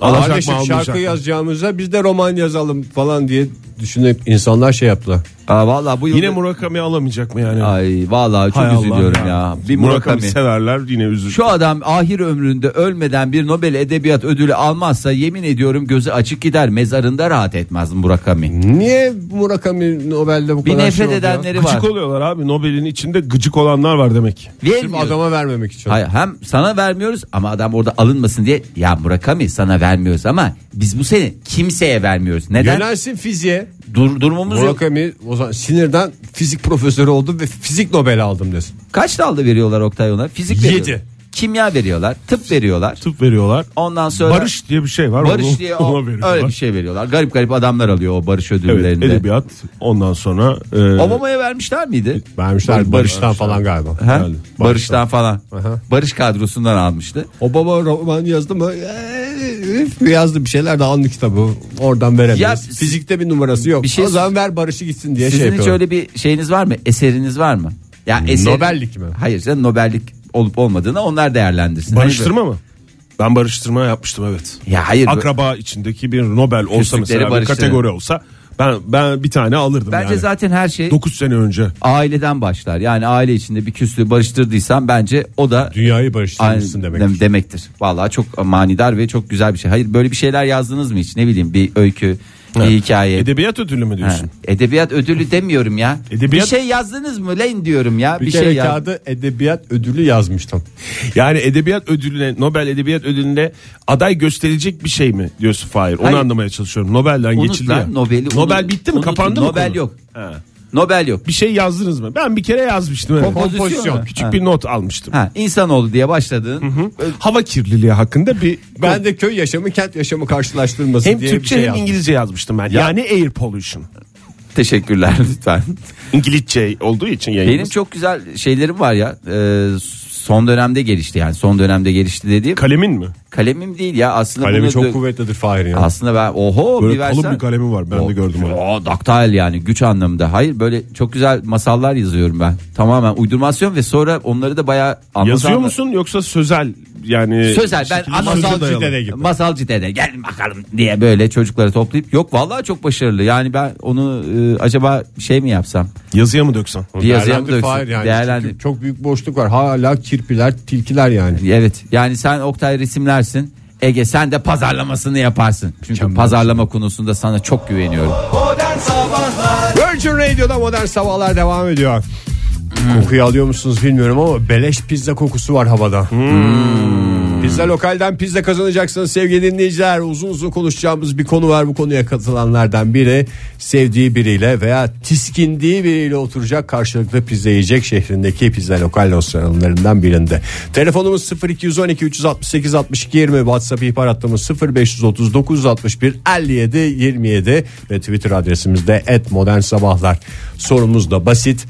[SPEAKER 4] Alacak
[SPEAKER 3] Kardeşim
[SPEAKER 4] mı, almayacak
[SPEAKER 3] şarkı
[SPEAKER 4] mı?
[SPEAKER 3] yazacağımıza biz de roman yazalım falan diye düşünüp insanlar şey yaptılar.
[SPEAKER 5] Aa, vallahi bu yıl
[SPEAKER 4] Yine Murakami alamayacak mı yani?
[SPEAKER 5] Ay vallahi çok
[SPEAKER 4] Hay Allah
[SPEAKER 5] üzülüyorum ya. Bir
[SPEAKER 4] Murakami.
[SPEAKER 5] Murakami.
[SPEAKER 4] severler yine üzülür.
[SPEAKER 5] Şu adam ahir ömründe ölmeden bir Nobel Edebiyat Ödülü almazsa yemin ediyorum gözü açık gider. Mezarında rahat etmez Murakami.
[SPEAKER 3] Niye Murakami Nobel'de bu
[SPEAKER 5] Bir
[SPEAKER 3] kadar şey
[SPEAKER 5] nefret
[SPEAKER 3] oldu ya?
[SPEAKER 5] edenleri var.
[SPEAKER 4] Gıcık oluyorlar abi. Nobel'in içinde gıcık olanlar var demek ki.
[SPEAKER 3] Sırf
[SPEAKER 5] Vermiyor.
[SPEAKER 3] adama vermemek için.
[SPEAKER 5] Hayır, hem sana vermiyoruz ama adam orada alınmasın diye ya Murakami sana vermiyoruz ama biz bu sene kimseye vermiyoruz. Neden?
[SPEAKER 3] Yönelsin fiziğe.
[SPEAKER 5] Dur, durumumuz yok.
[SPEAKER 3] Murakami o zaman sinirden fizik profesörü oldum ve fizik Nobel aldım desin.
[SPEAKER 5] Kaç dalda veriyorlar Oktay ona? Fizik veriyorlar.
[SPEAKER 3] Yedi.
[SPEAKER 5] Kimya veriyorlar. Tıp veriyorlar.
[SPEAKER 4] Tıp veriyorlar.
[SPEAKER 5] Ondan sonra
[SPEAKER 4] Barış diye bir şey var. onu-
[SPEAKER 5] Barış diye o,
[SPEAKER 4] ona veriyorlar.
[SPEAKER 5] öyle bir şey veriyorlar. Garip garip adamlar alıyor o barış
[SPEAKER 4] Evet
[SPEAKER 5] ödüllerinde.
[SPEAKER 4] edebiyat ondan sonra e,
[SPEAKER 5] Obama'ya vermişler miydi?
[SPEAKER 3] Vermişler Barış'tan falan galiba.
[SPEAKER 5] Ha?
[SPEAKER 4] Yani
[SPEAKER 5] Barış'tan, falan.
[SPEAKER 3] Aha.
[SPEAKER 5] Barış kadrosundan almıştı.
[SPEAKER 3] Obama roman yazdı mı? Eee, üf, yazdı bir şeyler de anlı kitabı. Oradan veremeyiz.
[SPEAKER 5] Ya-
[SPEAKER 3] Fizikte bir numarası yok.
[SPEAKER 5] Bir şey-
[SPEAKER 3] o zaman ver Barış'ı gitsin diye şey
[SPEAKER 5] Sizin hiç
[SPEAKER 3] yapıyorum.
[SPEAKER 5] öyle bir şeyiniz var mı? Eseriniz var mı? Ya eserin-
[SPEAKER 3] Nobellik mi?
[SPEAKER 5] Hayır canım Nobellik olup olmadığını onlar değerlendirsin.
[SPEAKER 4] Barıştırma mı? Ben barıştırma yapmıştım evet.
[SPEAKER 5] Hani böyle- ya hayır. bu-
[SPEAKER 4] Akraba içindeki bir Nobel olsa
[SPEAKER 5] Küslükleri
[SPEAKER 4] mesela bir
[SPEAKER 5] barıştırma.
[SPEAKER 4] kategori olsa ben ben bir tane alırdım
[SPEAKER 5] Bence
[SPEAKER 4] yani.
[SPEAKER 5] zaten her şey
[SPEAKER 4] 9 sene önce.
[SPEAKER 5] aileden başlar. Yani aile içinde bir küslüğü barıştırdıysan bence o da
[SPEAKER 3] Dünyayı
[SPEAKER 5] aynı
[SPEAKER 3] barıştırmışsın demek.
[SPEAKER 5] dem- demektir. Vallahi çok manidar ve çok güzel bir şey. Hayır böyle bir şeyler yazdınız mı hiç? Ne bileyim bir öykü, bir hikaye.
[SPEAKER 4] Edebiyat ödülü mü
[SPEAKER 5] Ha,
[SPEAKER 4] diyorsun?
[SPEAKER 5] Edebiyat ödülü demiyorum ya.
[SPEAKER 4] Edebiyat-
[SPEAKER 5] Bir şey yazdınız mı lan diyorum ya.
[SPEAKER 3] Bir,
[SPEAKER 5] Bir,
[SPEAKER 3] kere
[SPEAKER 5] şey yaz-
[SPEAKER 3] kağıda edebiyat ödülü yazmıştım.
[SPEAKER 4] Yani edebiyat ödülüne Nobel Edebiyat Ödülü'ne aday gösterilecek bir şey mi diyorsun Fahir? Onu
[SPEAKER 5] Hayır.
[SPEAKER 4] anlamaya çalışıyorum. Nobel'den
[SPEAKER 5] Unut
[SPEAKER 4] geçildi.
[SPEAKER 5] lan
[SPEAKER 4] ya.
[SPEAKER 5] Nobel'i,
[SPEAKER 4] Nobel
[SPEAKER 5] unut.
[SPEAKER 4] bitti mi?
[SPEAKER 5] Unut,
[SPEAKER 4] Kapandı mı?
[SPEAKER 5] Nobel
[SPEAKER 4] konu?
[SPEAKER 5] yok.
[SPEAKER 4] Ha.
[SPEAKER 5] Nobel yok.
[SPEAKER 4] Bir şey yazdınız mı? Ben bir kere yazmıştım. evet.
[SPEAKER 5] Kompozisyon mu?
[SPEAKER 4] Küçük
[SPEAKER 5] Ha.
[SPEAKER 4] bir not almıştım.
[SPEAKER 5] Ha, insanoğlu diye başladığın
[SPEAKER 4] Hava kirliliği hakkında bir
[SPEAKER 3] Ben de köy yaşamı kent yaşamı karşılaştırması
[SPEAKER 4] hem
[SPEAKER 3] diye
[SPEAKER 4] Türkçe
[SPEAKER 3] bir şey
[SPEAKER 4] hem
[SPEAKER 3] yazdım.
[SPEAKER 4] İngilizce yazmıştım ben. Yani air pollution.
[SPEAKER 5] teşekkürler (laughs) lütfen.
[SPEAKER 4] İngilizce olduğu için yayınımız.
[SPEAKER 5] Benim çok güzel şeylerim var ya. Ee, son dönemde gelişti yani. Son dönemde gelişti dediğim
[SPEAKER 4] Kalemin mi?
[SPEAKER 5] kalemim değil ya aslında
[SPEAKER 3] Kalemi
[SPEAKER 5] bunu
[SPEAKER 3] çok
[SPEAKER 5] dö-
[SPEAKER 3] kuvvetlidir Fahir ya.
[SPEAKER 5] Aslında ben oho
[SPEAKER 4] Böyle
[SPEAKER 5] bir
[SPEAKER 4] kalın
[SPEAKER 5] versen-
[SPEAKER 4] bir kalemi var. Ben de gördüm onu.
[SPEAKER 5] Aa, daktil yani güç anlamında. Hayır böyle çok güzel masallar yazıyorum ben. Tamamen uydurmasyon ve sonra onları da bayağı anlatan-
[SPEAKER 4] Yazıyor musun yoksa sözel yani
[SPEAKER 5] Sözel ben
[SPEAKER 4] Ee, şekilde-
[SPEAKER 5] masal
[SPEAKER 4] dayalı.
[SPEAKER 5] dede gibi. Masalcı dede gel bakalım diye böyle çocukları toplayıp yok vallahi çok başarılı. Yani ben onu e, acaba şey mi yapsam?
[SPEAKER 4] yazıya mı döksen?
[SPEAKER 5] Bir yazıya mı
[SPEAKER 3] Değerlendir Fahir
[SPEAKER 5] döksün?
[SPEAKER 3] yani.
[SPEAKER 5] Değerlendir.
[SPEAKER 3] Çünkü Çok büyük boşluk var. Hala kirpiler, tilkiler yani.
[SPEAKER 5] Evet yani sen Oktay resimlersin. Ege sen de pazarlamasını yaparsın. Çünkü pazarlama konusunda sana çok güveniyorum.
[SPEAKER 2] Modern Sabahlar
[SPEAKER 3] Virgin Radio'da modern sabahlar devam ediyor. Kokuyu alıyor musunuz bilmiyorum ama beleş pizza kokusu var havada. Pizza lokalden pizza kazanacaksınız sevgili dinleyiciler. Uzun uzun konuşacağımız bir konu var. Bu konuya katılanlardan biri sevdiği biriyle veya tiskindiği biriyle oturacak karşılıklı pizza yiyecek şehrindeki pizza lokal restoranlarından birinde. Telefonumuz 0212 368 62 20 WhatsApp ihbar hattımız 0530 961 57 27 ve Twitter adresimizde @modernsabahlar. Sorumuz da basit.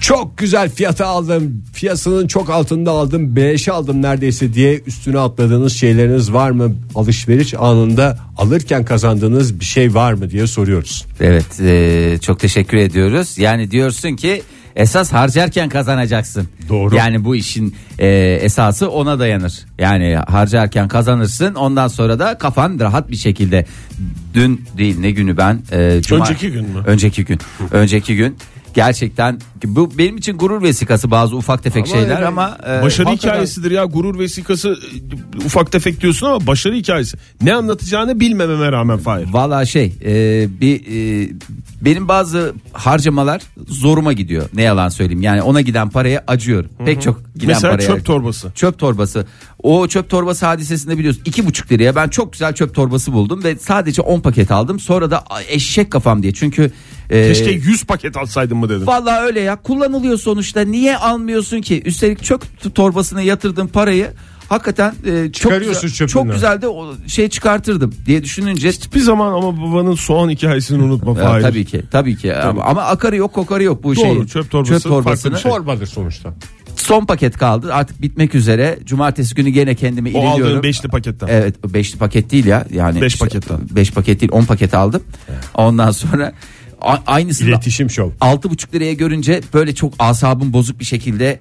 [SPEAKER 3] Çok güzel fiyata aldım. Fiyasının çok altında aldım. Beleşe aldım neredeyse diye üstüne atladığınız şeyleriniz var mı? Alışveriş anında alırken kazandığınız bir şey var mı diye soruyoruz.
[SPEAKER 5] Evet e, çok teşekkür ediyoruz. Yani diyorsun ki esas harcarken kazanacaksın.
[SPEAKER 3] Doğru.
[SPEAKER 5] Yani bu işin e, esası ona dayanır. Yani harcarken kazanırsın ondan sonra da kafan rahat bir şekilde. Dün değil ne günü ben? e,
[SPEAKER 4] Önceki gün mü?
[SPEAKER 5] Önceki gün. önceki gün. Gerçekten bu benim için gurur vesikası bazı ufak tefek şeyler
[SPEAKER 3] yani
[SPEAKER 5] ama e,
[SPEAKER 4] Başarı
[SPEAKER 5] hakikaten-
[SPEAKER 4] hikayesidir ya gurur vesikası e, ufak tefek diyorsun ama başarı hikayesi. Ne anlatacağını bilmememe rağmen Fahir.
[SPEAKER 5] Valla şey e, bir e, benim bazı harcamalar zoruma gidiyor. Ne yalan söyleyeyim. Yani ona giden paraya acıyorum. Pek çok giden
[SPEAKER 4] Mesela
[SPEAKER 5] paraya.
[SPEAKER 4] çöp torbası.
[SPEAKER 5] Çöp torbası. O çöp torbası hadisesinde biliyorsun iki buçuk liraya ben çok güzel çöp torbası buldum ve sadece 10 paket aldım. Sonra da "Ay, eşek kafam diye. Çünkü e,
[SPEAKER 4] Keşke 100 paket alsaydın mı dedim.
[SPEAKER 5] Vallahi öyle ya kullanılıyor sonuçta niye almıyorsun ki üstelik çöp torbasına yatırdığın parayı hakikaten e, çok
[SPEAKER 3] Çıkarıyorsun
[SPEAKER 5] güzel,
[SPEAKER 3] çöpünden.
[SPEAKER 5] çok güzel de o şey çıkartırdım diye düşününce
[SPEAKER 4] Hiçbir zaman ama babanın soğan hikayesini unutma
[SPEAKER 5] Ya,
[SPEAKER 4] Fahir.
[SPEAKER 5] tabii ki tabii ki ama, ama akarı yok kokarı yok bu şey.
[SPEAKER 4] çöp torbası farklı bir şey.
[SPEAKER 3] Torbadır sonuçta.
[SPEAKER 5] Son paket kaldı artık bitmek üzere. Cumartesi günü gene kendimi
[SPEAKER 4] O
[SPEAKER 5] iriliyorum.
[SPEAKER 4] aldığın beşli paketten.
[SPEAKER 5] Evet o beşli paket değil ya yani.
[SPEAKER 4] Beş
[SPEAKER 5] işte,
[SPEAKER 4] paketten.
[SPEAKER 5] Beş paket değil on paket aldım. Ondan sonra a- aynısını
[SPEAKER 3] İletişim şov.
[SPEAKER 5] altı buçuk liraya görünce böyle çok asabım bozuk bir şekilde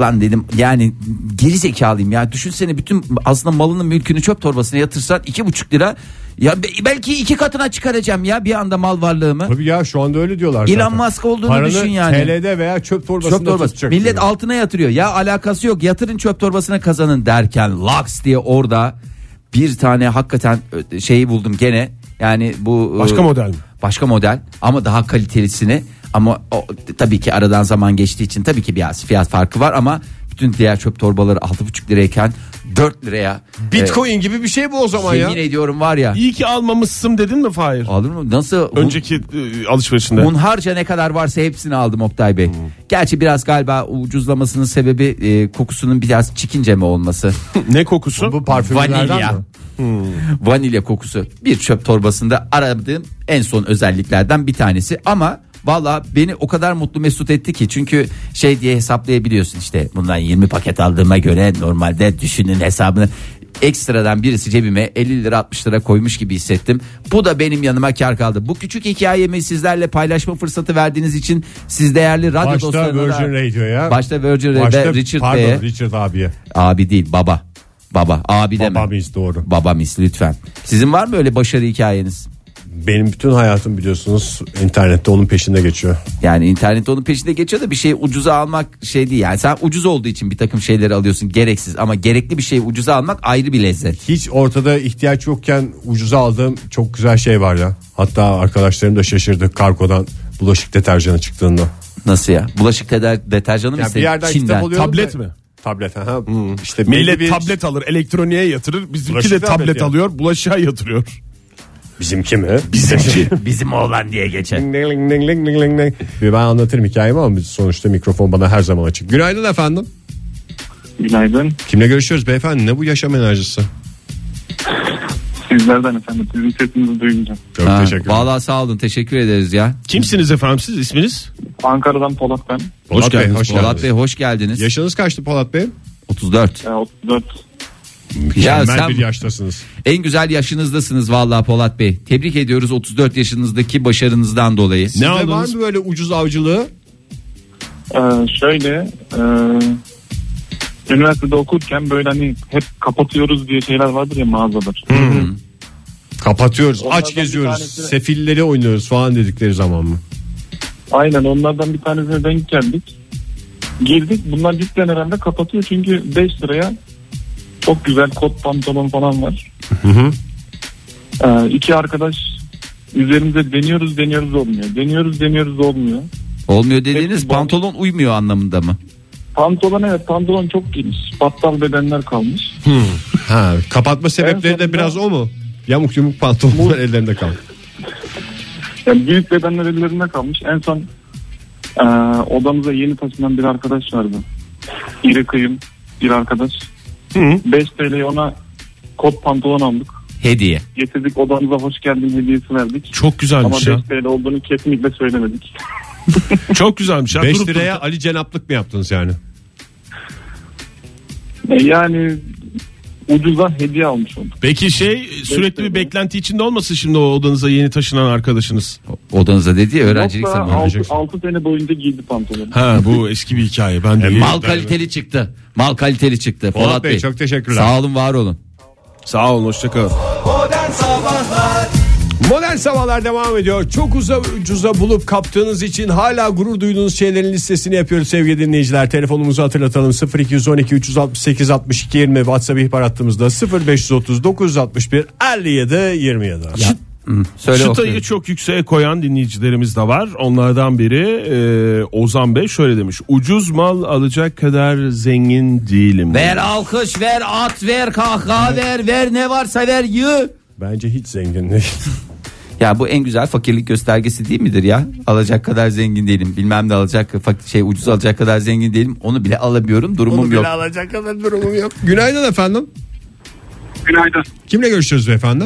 [SPEAKER 5] lan dedim yani geri zekalıyım ya düşünsene bütün aslında malının mülkünü çöp torbasına yatırsan iki buçuk lira ya be- belki iki katına çıkaracağım ya bir anda mal varlığımı.
[SPEAKER 3] Tabii ya şu anda öyle diyorlar zaten.
[SPEAKER 5] Elon Musk olduğunu
[SPEAKER 3] Paranı
[SPEAKER 5] düşün yani.
[SPEAKER 3] TL'de veya çöp torbasında
[SPEAKER 5] Çöp torbası.
[SPEAKER 3] tutacak.
[SPEAKER 5] Millet
[SPEAKER 3] diyor.
[SPEAKER 5] altına yatırıyor. Ya alakası yok. Yatırın çöp torbasına kazanın derken laks diye orada bir tane hakikaten ö- şeyi buldum gene. Yani bu
[SPEAKER 4] Başka
[SPEAKER 5] e,
[SPEAKER 4] model mi?
[SPEAKER 5] Başka model ama daha kalitelisini ama o, tabii ki aradan zaman geçtiği için tabii ki biraz fiyat farkı var ama bütün diğer çöp torbaları 6,5 lirayken 4 liraya.
[SPEAKER 3] Bitcoin gibi bir şey bu o zaman
[SPEAKER 5] e, yemin
[SPEAKER 3] ya.
[SPEAKER 5] ediyorum var ya.
[SPEAKER 4] İyi ki almamışsın dedin mi Fahir?
[SPEAKER 5] Alır mı? Nasıl?
[SPEAKER 4] Önceki e, alışverişinde.
[SPEAKER 5] Hunharca ne kadar varsa hepsini aldım Oktay Bey. Gerçi biraz galiba ucuzlamasının sebebi e, kokusunun biraz çikince mi olması?
[SPEAKER 4] ne kokusu?
[SPEAKER 3] Bu parfümlerden
[SPEAKER 5] Vanilya. Hmm.
[SPEAKER 3] mi?
[SPEAKER 5] Vanilya kokusu bir çöp torbasında aradığım en son özelliklerden bir tanesi ama valla beni o kadar mutlu mesut etti ki çünkü şey diye hesaplayabiliyorsun işte bundan 20 paket aldığıma göre normalde düşünün hesabını ekstradan birisi cebime 50 lira 60 lira koymuş gibi hissettim. Bu da benim yanıma kar kaldı. Bu küçük hikayemi sizlerle paylaşma fırsatı verdiğiniz için siz değerli radyo
[SPEAKER 6] Başta
[SPEAKER 5] dostlarına da-
[SPEAKER 6] Virgin Radio'ya.
[SPEAKER 5] Başta Virgin Radio'da
[SPEAKER 6] Başta
[SPEAKER 5] Richard
[SPEAKER 6] pardon,
[SPEAKER 4] E?
[SPEAKER 5] Bey'e
[SPEAKER 6] Richard abiye.
[SPEAKER 5] abi değil baba. Baba abi deme.
[SPEAKER 6] Babam is doğru.
[SPEAKER 5] Baba mis lütfen. Sizin var mı öyle başarı hikayeniz?
[SPEAKER 6] Benim bütün hayatım biliyorsunuz internette onun peşinde geçiyor.
[SPEAKER 5] Yani internet onun peşinde geçiyor da bir şeyi ucuza almak şey değil. Yani sen ucuz olduğu için bir takım şeyleri alıyorsun gereksiz ama gerekli bir şeyi ucuza almak ayrı bir lezzet.
[SPEAKER 6] Hiç ortada ihtiyaç yokken ucuza aldığım çok güzel şey var ya. Hatta arkadaşlarım da şaşırdı kargodan bulaşık deterjanı çıktığında.
[SPEAKER 5] Nasıl ya? Bulaşık deder, deterjanı mı
[SPEAKER 6] Yani bir
[SPEAKER 5] istedin?
[SPEAKER 6] yerden
[SPEAKER 5] Çin'den.
[SPEAKER 6] kitap alıyorum.
[SPEAKER 4] Tablet
[SPEAKER 6] da-
[SPEAKER 4] mi?
[SPEAKER 6] Tablet ha.
[SPEAKER 5] Hmm.
[SPEAKER 6] İşte belli
[SPEAKER 4] Millet
[SPEAKER 6] bir-
[SPEAKER 4] tablet alır elektroniğe yatırır bizimki
[SPEAKER 6] Bulaşık
[SPEAKER 4] de
[SPEAKER 6] tablet
[SPEAKER 4] tablet
[SPEAKER 6] ya.
[SPEAKER 4] alıyor bulaşığa yatırıyor.
[SPEAKER 6] Bizimki mi?
[SPEAKER 5] Bizim oğlan diye geçer.
[SPEAKER 6] Bir ben anlatırım hikayemi ama sonuçta mikrofon bana her zaman açık. Günaydın efendim.
[SPEAKER 7] Günaydın.
[SPEAKER 6] Kimle görüşüyoruz beyefendi? Ne bu yaşam enerjisi?
[SPEAKER 7] Sizlerden efendim. Sizin sesinizi duyunca.
[SPEAKER 6] Çok
[SPEAKER 5] Ha,
[SPEAKER 6] teşekkür ederim.
[SPEAKER 5] vallahi sağ olun teşekkür ederiz ya.
[SPEAKER 4] Kimsiniz efendim siz isminiz?
[SPEAKER 7] Ankara'dan Polat ben.
[SPEAKER 6] Polat Bey,
[SPEAKER 4] geldiniz.
[SPEAKER 6] hoş
[SPEAKER 4] Polat
[SPEAKER 6] geldiniz.
[SPEAKER 5] Polat Bey hoş geldiniz.
[SPEAKER 6] Yaşınız kaçtı Polat Bey?
[SPEAKER 5] 34.
[SPEAKER 7] Ee, 34.
[SPEAKER 5] Ya
[SPEAKER 6] Mükemmel
[SPEAKER 5] sen-
[SPEAKER 6] bir yaştasınız.
[SPEAKER 5] En güzel yaşınızdasınız vallahi Polat Bey. Tebrik ediyoruz 34 yaşınızdaki başarınızdan dolayı.
[SPEAKER 6] Ne
[SPEAKER 4] aldınız?
[SPEAKER 6] var mı böyle ucuz avcılığı?
[SPEAKER 7] Ee, şöyle e, üniversitede okurken böyle hani hep kapatıyoruz diye şeyler vardır ya mağazalar.
[SPEAKER 6] Kapatıyoruz,
[SPEAKER 7] Onlardan
[SPEAKER 6] aç
[SPEAKER 7] bir
[SPEAKER 6] geziyoruz,
[SPEAKER 7] tanesi-
[SPEAKER 6] sefilleri oynuyoruz falan dedikleri zaman mı?
[SPEAKER 7] Aynen onlardan bir tanesine denk geldik. Girdik. Bunlar cidden herhalde kapatıyor çünkü 5 liraya çok güzel kot pantolon falan var. Ee, iki arkadaş üzerimize deniyoruz deniyoruz olmuyor. Deniyoruz deniyoruz olmuyor.
[SPEAKER 5] Olmuyor dediğiniz
[SPEAKER 7] Hepsi bol.
[SPEAKER 5] pantolon uymuyor anlamında mı?
[SPEAKER 7] Pantolon evet pantolon çok geniş. Battal bedenler kalmış.
[SPEAKER 6] Ha, kapatma sebepleri de
[SPEAKER 7] sonunda-
[SPEAKER 6] biraz o mu? Yamuk yumuk pantolonlar ellerinde kaldı.
[SPEAKER 7] Yani büyük bedenler ellerinde kalmış. En son e, odamıza yeni taşınan bir arkadaş vardı. İri kıyım bir arkadaş. 5 TL'ye ona kot pantolon aldık.
[SPEAKER 5] Hediye.
[SPEAKER 7] Getirdik odamıza hoş geldin hediyesi verdik.
[SPEAKER 4] Çok
[SPEAKER 7] Ama
[SPEAKER 4] güzelmiş
[SPEAKER 7] 5
[SPEAKER 4] ya.
[SPEAKER 7] TL olduğunu kesinlikle söylemedik.
[SPEAKER 4] Çok güzelmiş ya.
[SPEAKER 6] 5
[SPEAKER 4] Durup
[SPEAKER 6] liraya
[SPEAKER 4] durup-
[SPEAKER 6] Ali Cenaplık mı yaptınız yani?
[SPEAKER 7] E, yani ucuza hediye almış olduk.
[SPEAKER 4] Peki şey sürekli bir
[SPEAKER 7] liraya.
[SPEAKER 4] beklenti içinde olmasın şimdi o odanıza yeni taşınan arkadaşınız.
[SPEAKER 5] Odanıza dedi ya öğrencilik
[SPEAKER 7] Yoksa
[SPEAKER 5] zamanı.
[SPEAKER 7] altı- altı sene boyunca giydi pantolonu.
[SPEAKER 4] Ha bu eski bir hikaye. Ben de
[SPEAKER 5] Mal kaliteli çıktı. Mal kaliteli çıktı. Polat,
[SPEAKER 6] Polat Bey,
[SPEAKER 5] Bey,
[SPEAKER 6] çok teşekkürler.
[SPEAKER 5] Sağ olun var olun.
[SPEAKER 4] Sağ olun hoşçakalın.
[SPEAKER 2] Modern Sabahlar
[SPEAKER 3] Modern sabahlar devam ediyor. Çok uza, ucuza bulup kaptığınız için hala gurur duyduğunuz şeylerin listesini yapıyoruz sevgili dinleyiciler. Telefonumuzu hatırlatalım 0212 368 62 20 WhatsApp ihbar hattımızda 0530 961 57 27.
[SPEAKER 5] Söyle
[SPEAKER 4] Çıtayı
[SPEAKER 5] okuyun.
[SPEAKER 4] çok yükseğe koyan dinleyicilerimiz de var. Onlardan biri e, Ozan Bey şöyle demiş. Ucuz mal alacak kadar zengin değilim.
[SPEAKER 5] Ver alkış ver at ver kahkaha ver ver ne varsa ver yığ.
[SPEAKER 6] Bence hiç zengin değil.
[SPEAKER 5] (laughs) Ya bu en güzel fakirlik göstergesi değil midir ya? Alacak kadar zengin değilim. Bilmem ne alacak fak- şey ucuz alacak kadar zengin değilim. Onu bile alamıyorum. Durumum yok.
[SPEAKER 6] alacak kadar durumum yok. Günaydın efendim.
[SPEAKER 7] Günaydın.
[SPEAKER 6] Kimle görüşüyoruz beyefendi?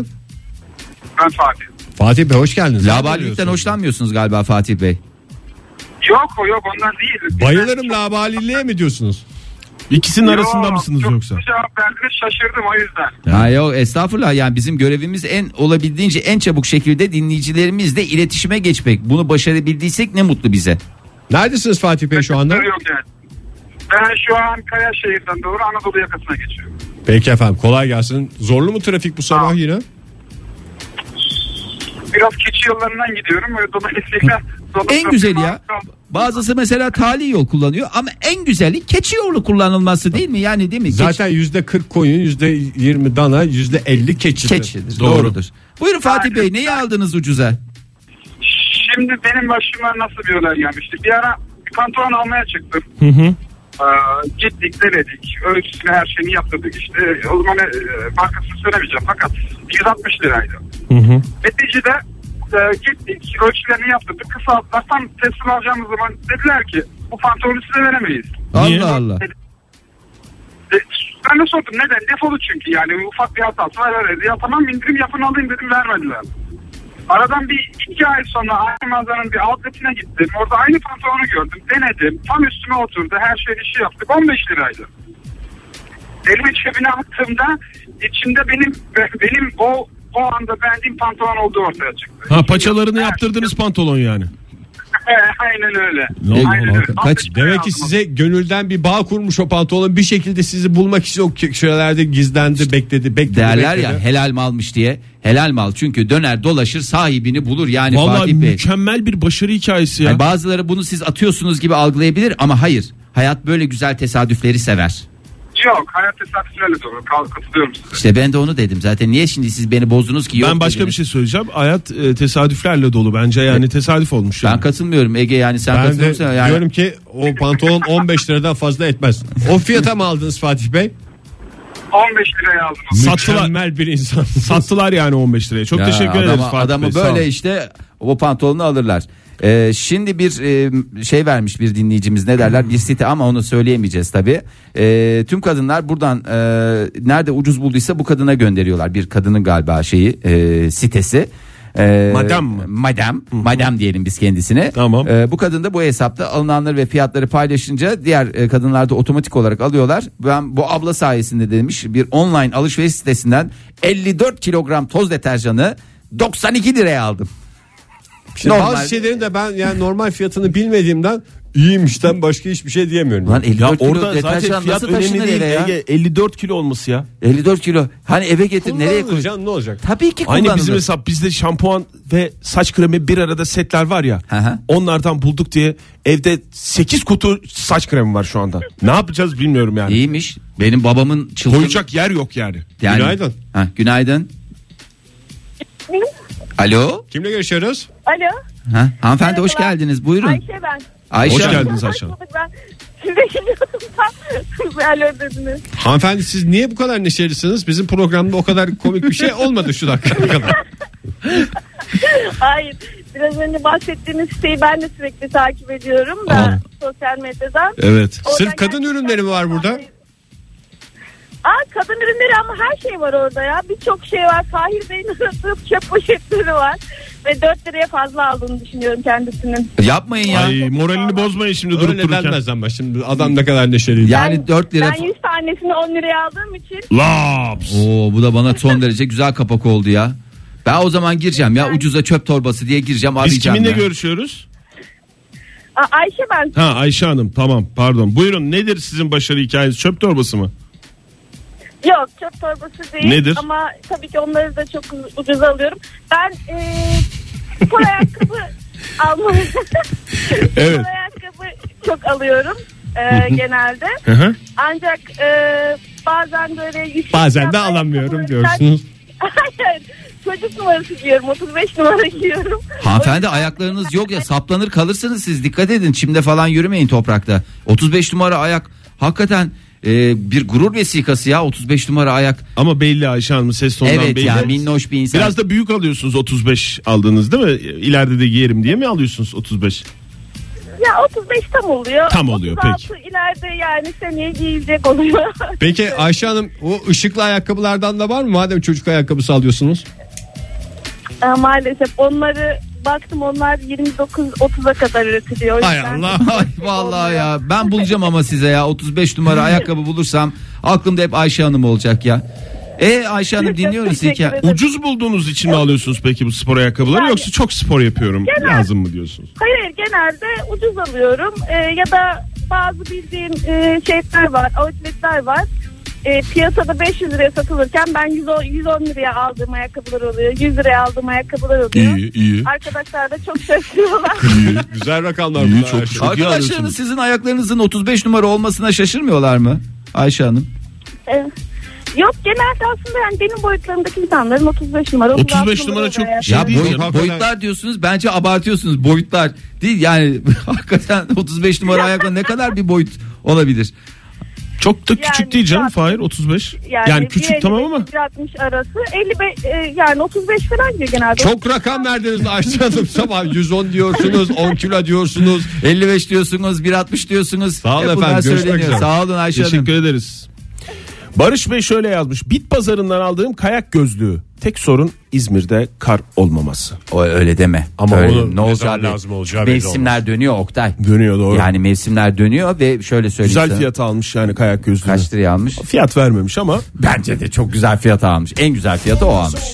[SPEAKER 7] Ben Fatih.
[SPEAKER 6] Fatih Bey hoş geldiniz.
[SPEAKER 5] Laballikten hoşlanmıyorsunuz galiba Fatih Bey.
[SPEAKER 7] Yok yok ondan değil.
[SPEAKER 6] Bayılırım labaliliğe mi diyorsunuz?
[SPEAKER 4] İkisinin arasında mısınız yoksa?
[SPEAKER 7] cevap verdiniz şaşırdım o yüzden.
[SPEAKER 5] Ha yok estağfurullah yani bizim görevimiz en olabildiğince en çabuk şekilde dinleyicilerimizle iletişime geçmek. Bunu başarabildiysek ne mutlu bize.
[SPEAKER 6] Neredesiniz Fatih Bey şu anda?
[SPEAKER 7] Yok yani. Ben şu an Kayaşehir'den doğru Anadolu yakasına geçiyorum.
[SPEAKER 6] Peki efendim kolay gelsin. Zorlu mu trafik bu sabah yine?
[SPEAKER 7] Biraz keçi yollarından gidiyorum.
[SPEAKER 4] (laughs)
[SPEAKER 7] Dolayısıyla
[SPEAKER 5] En güzeli ya. Bazısı mesela tali yol kullanıyor ama en güzeli keçi yolu kullanılması değil mi? Yani değil mi? Keçi-
[SPEAKER 6] Zaten yüzde 40 koyun, yüzde 20 dana, yüzde 50 keçidir.
[SPEAKER 5] keçidir.
[SPEAKER 4] Doğru.
[SPEAKER 5] Doğrudur. Buyurun Fatih Bey neyi aldınız ucuza?
[SPEAKER 7] Şimdi benim başıma nasıl bir olay gelmişti? Bir ara bir pantolon almaya çıktım. Ee, gittik denedik. Ölçüsünü her şeyini yaptırdık işte. O zaman e, markasını söylemeyeceğim fakat 160 liraydı. Neticede e, gittik ölçülerini yaptırdık. Kısalttılar. Tam teslim alacağımız zaman dediler ki bu pantolonu size veremeyiz.
[SPEAKER 4] Niye?
[SPEAKER 5] Allah Allah.
[SPEAKER 7] E, Ben de sordum neden? Defolu çünkü yani ufak bir hatası var. öyle. Ya tamam indirim yapın alayım dedim vermediler. Aradan bir iki ay sonra aynı mağazanın bir outletine gittim. Orada aynı pantolonu gördüm. Denedim. Tam üstüme oturdu. Her şey işi yaptık. 15 liraydı. Elimi cebine attığımda içinde benim (laughs) benim o o anda beğendiğim pantolon olduğu ortaya çıktı.
[SPEAKER 4] Ha paçalarını yaptırdınız pantolon yani.
[SPEAKER 7] (laughs) Aynen öyle.
[SPEAKER 4] Ne oldu
[SPEAKER 7] Aynen
[SPEAKER 4] ona?
[SPEAKER 7] öyle.
[SPEAKER 3] Kaç
[SPEAKER 7] Altmış liraya
[SPEAKER 3] demek ki
[SPEAKER 7] aldım.
[SPEAKER 3] size gönülden bir bağ kurmuş o pantolon bir şekilde sizi bulmak için o köşelerde gizlendi bekledi bekledi.
[SPEAKER 5] Derler
[SPEAKER 3] bekledi.
[SPEAKER 5] ya helal malmış diye. Helal mal çünkü döner dolaşır sahibini bulur yani
[SPEAKER 4] Vallahi
[SPEAKER 5] Fatih Bey.
[SPEAKER 4] mükemmel bir başarı hikayesi ya.
[SPEAKER 5] Yani bazıları bunu siz atıyorsunuz gibi algılayabilir ama hayır. Hayat böyle güzel tesadüfleri sever.
[SPEAKER 7] Yok hayat tesadüflerle dolu. Kal- Katılıyorum size.
[SPEAKER 5] İşte ben de onu dedim zaten. Niye şimdi siz beni bozdunuz ki? Yok
[SPEAKER 4] ben başka bir
[SPEAKER 5] dediniz.
[SPEAKER 4] şey söyleyeceğim. Hayat e, tesadüflerle dolu bence yani tesadüf olmuş.
[SPEAKER 5] Ben
[SPEAKER 4] Yani.
[SPEAKER 5] katılmıyorum Ege yani sen
[SPEAKER 3] Ben de
[SPEAKER 5] katılıyorsan yani.
[SPEAKER 3] diyorum ki o pantolon 15 liradan fazla etmez. O fiyata mı aldınız Fatih Bey?
[SPEAKER 7] 15 liraya aldım. onu.
[SPEAKER 4] Sattılar. bir insan. (laughs) Sattılar yani 15 liraya. Çok
[SPEAKER 5] Ya
[SPEAKER 4] teşekkür
[SPEAKER 5] adama-
[SPEAKER 4] ederiz Fatih
[SPEAKER 5] Adamı
[SPEAKER 4] Bey, sağ
[SPEAKER 5] böyle
[SPEAKER 4] olun.
[SPEAKER 5] işte o pantolonu alırlar. Ee, şimdi bir e, şey vermiş bir dinleyicimiz ne derler bir site ama onu söyleyemeyeceğiz tabi. tüm kadınlar buradan e, nerede ucuz bulduysa bu kadına gönderiyorlar bir kadının galiba şeyi e, sitesi. Ee,
[SPEAKER 4] Madam mı?
[SPEAKER 5] Madam. Madam diyelim biz kendisine.
[SPEAKER 4] Tamam.
[SPEAKER 5] Ee, bu kadın da bu hesapta alınanları ve fiyatları paylaşınca diğer e, kadınlar da otomatik olarak alıyorlar. Ben bu abla sayesinde demiş bir online alışveriş sitesinden 54 kilogram toz deterjanı 92 liraya aldım.
[SPEAKER 3] Şimdi
[SPEAKER 5] Normal.
[SPEAKER 3] bazı şeylerin de ben yani normal fiyatını bilmediğimden iyiymişten başka hiçbir şey diyemiyorum.
[SPEAKER 5] Lan 54
[SPEAKER 4] Ya
[SPEAKER 5] kilo
[SPEAKER 4] orada zaten
[SPEAKER 5] deterjan
[SPEAKER 4] fiyat
[SPEAKER 5] nasıl
[SPEAKER 4] önemli
[SPEAKER 5] taşınır
[SPEAKER 4] değil.
[SPEAKER 5] eve ya?
[SPEAKER 4] Ege, 54 kilo olması ya.
[SPEAKER 5] 54 kilo. Hani eve getir nereye
[SPEAKER 3] Kullanılır
[SPEAKER 5] koy?
[SPEAKER 3] canım, ne olacak?
[SPEAKER 5] Tabii ki
[SPEAKER 4] Aynı bizim
[SPEAKER 5] kullanılır.
[SPEAKER 4] hesap bizde şampuan ve saç kremi bir arada setler var ya.
[SPEAKER 5] Hı hı.
[SPEAKER 4] Onlardan bulduk diye evde 8 kutu saç kremi var şu anda. Ne yapacağız bilmiyorum yani.
[SPEAKER 5] İyiymiş. Benim babamın çılgın.
[SPEAKER 4] Koyacak yer yok yani.
[SPEAKER 5] Yani-
[SPEAKER 3] Günaydın.
[SPEAKER 5] Ha, günaydın. Alo.
[SPEAKER 3] Kimle görüşüyoruz?
[SPEAKER 8] Alo.
[SPEAKER 5] Ha, hanımefendi hoş
[SPEAKER 8] Merhabalar.
[SPEAKER 5] geldiniz. Buyurun.
[SPEAKER 8] Ayşe ben.
[SPEAKER 5] Ayşe
[SPEAKER 4] Hoş
[SPEAKER 5] Hanım.
[SPEAKER 4] geldiniz Ayşe Hanım.
[SPEAKER 8] Hoş bulduk ben. Size (laughs) geliyordum da. Alo dediniz.
[SPEAKER 3] Hanımefendi siz niye bu kadar neşelisiniz? Bizim programda o kadar komik bir şey olmadı şu dakikaya kadar.
[SPEAKER 8] Hayır. Biraz önce bahsettiğiniz siteyi ben de sürekli takip ediyorum da
[SPEAKER 4] Aa.
[SPEAKER 8] sosyal medyadan.
[SPEAKER 4] (laughs) Evet.
[SPEAKER 8] Oradan
[SPEAKER 3] Ee, Sırf kadın
[SPEAKER 8] gerçekten-
[SPEAKER 3] ürünleri mi var burada?
[SPEAKER 8] Aa kadın ürünleri ama her şey var orada ya. Birçok şey var. Fahir Bey'in aradığı çöp poşetleri var. Ve 4 liraya fazla aldığını düşünüyorum kendisinin.
[SPEAKER 5] Yapmayın ya.
[SPEAKER 4] Ay moralini bozmayın şimdi durup
[SPEAKER 3] Öyle
[SPEAKER 4] dururken.
[SPEAKER 3] denmez ama şimdi adam ne kadar neşeliydi.
[SPEAKER 5] Yani
[SPEAKER 8] Ben-
[SPEAKER 5] 4 lira.
[SPEAKER 8] Ben 100 tanesini 10 liraya aldığım için
[SPEAKER 4] Laps.
[SPEAKER 5] Oo bu da bana son derece güzel kapak oldu ya. Ben o zaman gireceğim ya ucuza çöp torbası diye gireceğim
[SPEAKER 4] Biz
[SPEAKER 5] arayacağım.
[SPEAKER 4] kiminle
[SPEAKER 5] ya.
[SPEAKER 4] görüşüyoruz?
[SPEAKER 8] Aa, Ayşe ben
[SPEAKER 4] Ha Ayşe Hanım tamam pardon. Buyurun nedir sizin başarı hikayeniz? Çöp torbası mı?
[SPEAKER 8] Yok çöp torbası değil.
[SPEAKER 4] Nedir?
[SPEAKER 8] Ama tabii ki onları da çok ucuz- ucuz alıyorum. Ben eee spor
[SPEAKER 4] (laughs)
[SPEAKER 8] ayakkabı almam.
[SPEAKER 4] Evet.
[SPEAKER 8] Spor ayakkabı çok alıyorum eee, genelde.
[SPEAKER 4] hı.
[SPEAKER 8] Ancak eee, bazen böyle yüksek
[SPEAKER 3] Bazen de
[SPEAKER 8] fiyatlı
[SPEAKER 3] alamıyorum
[SPEAKER 8] ayakkabılardan-
[SPEAKER 3] diyorsunuz.
[SPEAKER 8] (laughs) Hayır. Çocuk numarası giyiyorum. 35 numara giyiyorum.
[SPEAKER 5] Hanımefendi ayaklarınız yok ya saplanır kalırsınız siz dikkat edin çimde falan yürümeyin toprakta. 35 numara ayak hakikaten e, bir gurur vesikası ya 35 numara ayak.
[SPEAKER 4] Ama belli Ayşe Hanım ses tonundan
[SPEAKER 5] evet
[SPEAKER 4] belli.
[SPEAKER 5] ya minnoş bir insan.
[SPEAKER 4] Biraz da büyük alıyorsunuz 35 aldınız değil mi? İleride de giyerim diye mi alıyorsunuz 35?
[SPEAKER 8] Ya 35 tam oluyor.
[SPEAKER 4] Tam oluyor, peki.
[SPEAKER 8] 36 ileride yani seneye giyilecek oluyor.
[SPEAKER 3] Peki Ayşe Hanım o ışıklı ayakkabılardan da var mı? Madem çocuk ayakkabısı alıyorsunuz.
[SPEAKER 8] Ee, maalesef onları baktım onlar 29-30'a kadar üretiliyor. O
[SPEAKER 3] Hay
[SPEAKER 8] yüzden-
[SPEAKER 3] Allah.
[SPEAKER 5] (laughs) Ay vallahi ya ben bulacağım ama size ya 35 numara ayakkabı bulursam aklımda hep Ayşe Hanım olacak ya. E Ayşe Hanım dinliyoruz
[SPEAKER 8] Teşekkür
[SPEAKER 5] hikaye.
[SPEAKER 8] ederim.
[SPEAKER 4] Ucuz bulduğunuz için mi alıyorsunuz peki bu spor ayakkabıları
[SPEAKER 8] Yani-
[SPEAKER 4] yoksa çok spor yapıyorum
[SPEAKER 8] Genel-
[SPEAKER 4] lazım mı diyorsunuz?
[SPEAKER 8] Hayır genelde ucuz alıyorum Ee, ya da bazı bildiğim e, şeyler var outletler var. Ee, piyasada 500 liraya satılırken ben 110, 110 liraya aldığım ayakkabılar oluyor. 100 liraya aldığım ayakkabılar oluyor.
[SPEAKER 4] iyi.
[SPEAKER 8] Arkadaşlar da çok
[SPEAKER 4] (laughs)
[SPEAKER 8] şaşırıyorlar.
[SPEAKER 3] Güzel rakamlar
[SPEAKER 4] İyi,
[SPEAKER 3] bunlar.
[SPEAKER 4] çok
[SPEAKER 3] Ayşe.
[SPEAKER 4] iyi.
[SPEAKER 5] Arkadaşlarınız
[SPEAKER 4] alıyorsunuz.
[SPEAKER 5] sizin ayaklarınızın 35 numara olmasına şaşırmıyorlar mı Ayşe Hanım?
[SPEAKER 8] Ee, Yok genelde aslında yani benim boyutlarımdaki insanların 35 numara 36
[SPEAKER 4] 35 numara çok
[SPEAKER 8] oluyor.
[SPEAKER 4] şey
[SPEAKER 5] Ya
[SPEAKER 4] değil.
[SPEAKER 5] boy-
[SPEAKER 4] canım.
[SPEAKER 3] hakikaten.
[SPEAKER 5] boyutlar diyorsunuz bence abartıyorsunuz boyutlar değil yani (laughs) hakikaten 35 numara ayakla ne kadar bir boyut olabilir.
[SPEAKER 4] Çok da küçük
[SPEAKER 8] Yani
[SPEAKER 4] değil canım
[SPEAKER 8] zaten-
[SPEAKER 4] Fahir 35. Yani,
[SPEAKER 8] Yani,
[SPEAKER 4] küçük tamam ama
[SPEAKER 8] 60 arası 55 e, yani 35 falan diyor genelde.
[SPEAKER 3] Çok rakam verdiniz Ayşe Hanım. Sabah 110 diyorsunuz, 10 kilo diyorsunuz.
[SPEAKER 5] 55 diyorsunuz 1.60 diyorsunuz.
[SPEAKER 3] Sağ olun
[SPEAKER 5] Hep bunlar
[SPEAKER 3] efendim, görüşmek
[SPEAKER 5] söyleniyor.
[SPEAKER 3] üzere.
[SPEAKER 5] Sağ olun Ayşe Hanım.
[SPEAKER 4] teşekkür ederiz. Barış Bey şöyle yazmış. Bit pazarından aldığım kayak gözlüğü. Tek sorun İzmir'de kar olmaması.
[SPEAKER 5] O öyle deme.
[SPEAKER 6] Ama
[SPEAKER 5] Öyle,
[SPEAKER 6] onu ne zaman
[SPEAKER 5] be-
[SPEAKER 6] lazım olacağı belli
[SPEAKER 5] Mevsimler dönüyor Oktay.
[SPEAKER 4] Dönüyor doğru.
[SPEAKER 5] Yani mevsimler dönüyor ve şöyle söyleyeyim.
[SPEAKER 4] Güzel
[SPEAKER 5] sana.
[SPEAKER 4] fiyat almış yani kayak gözlüğü.
[SPEAKER 5] Kaç liraya almış?
[SPEAKER 4] Fiyat vermemiş ama
[SPEAKER 5] Bence de çok güzel fiyata almış. En güzel fiyatı o almış.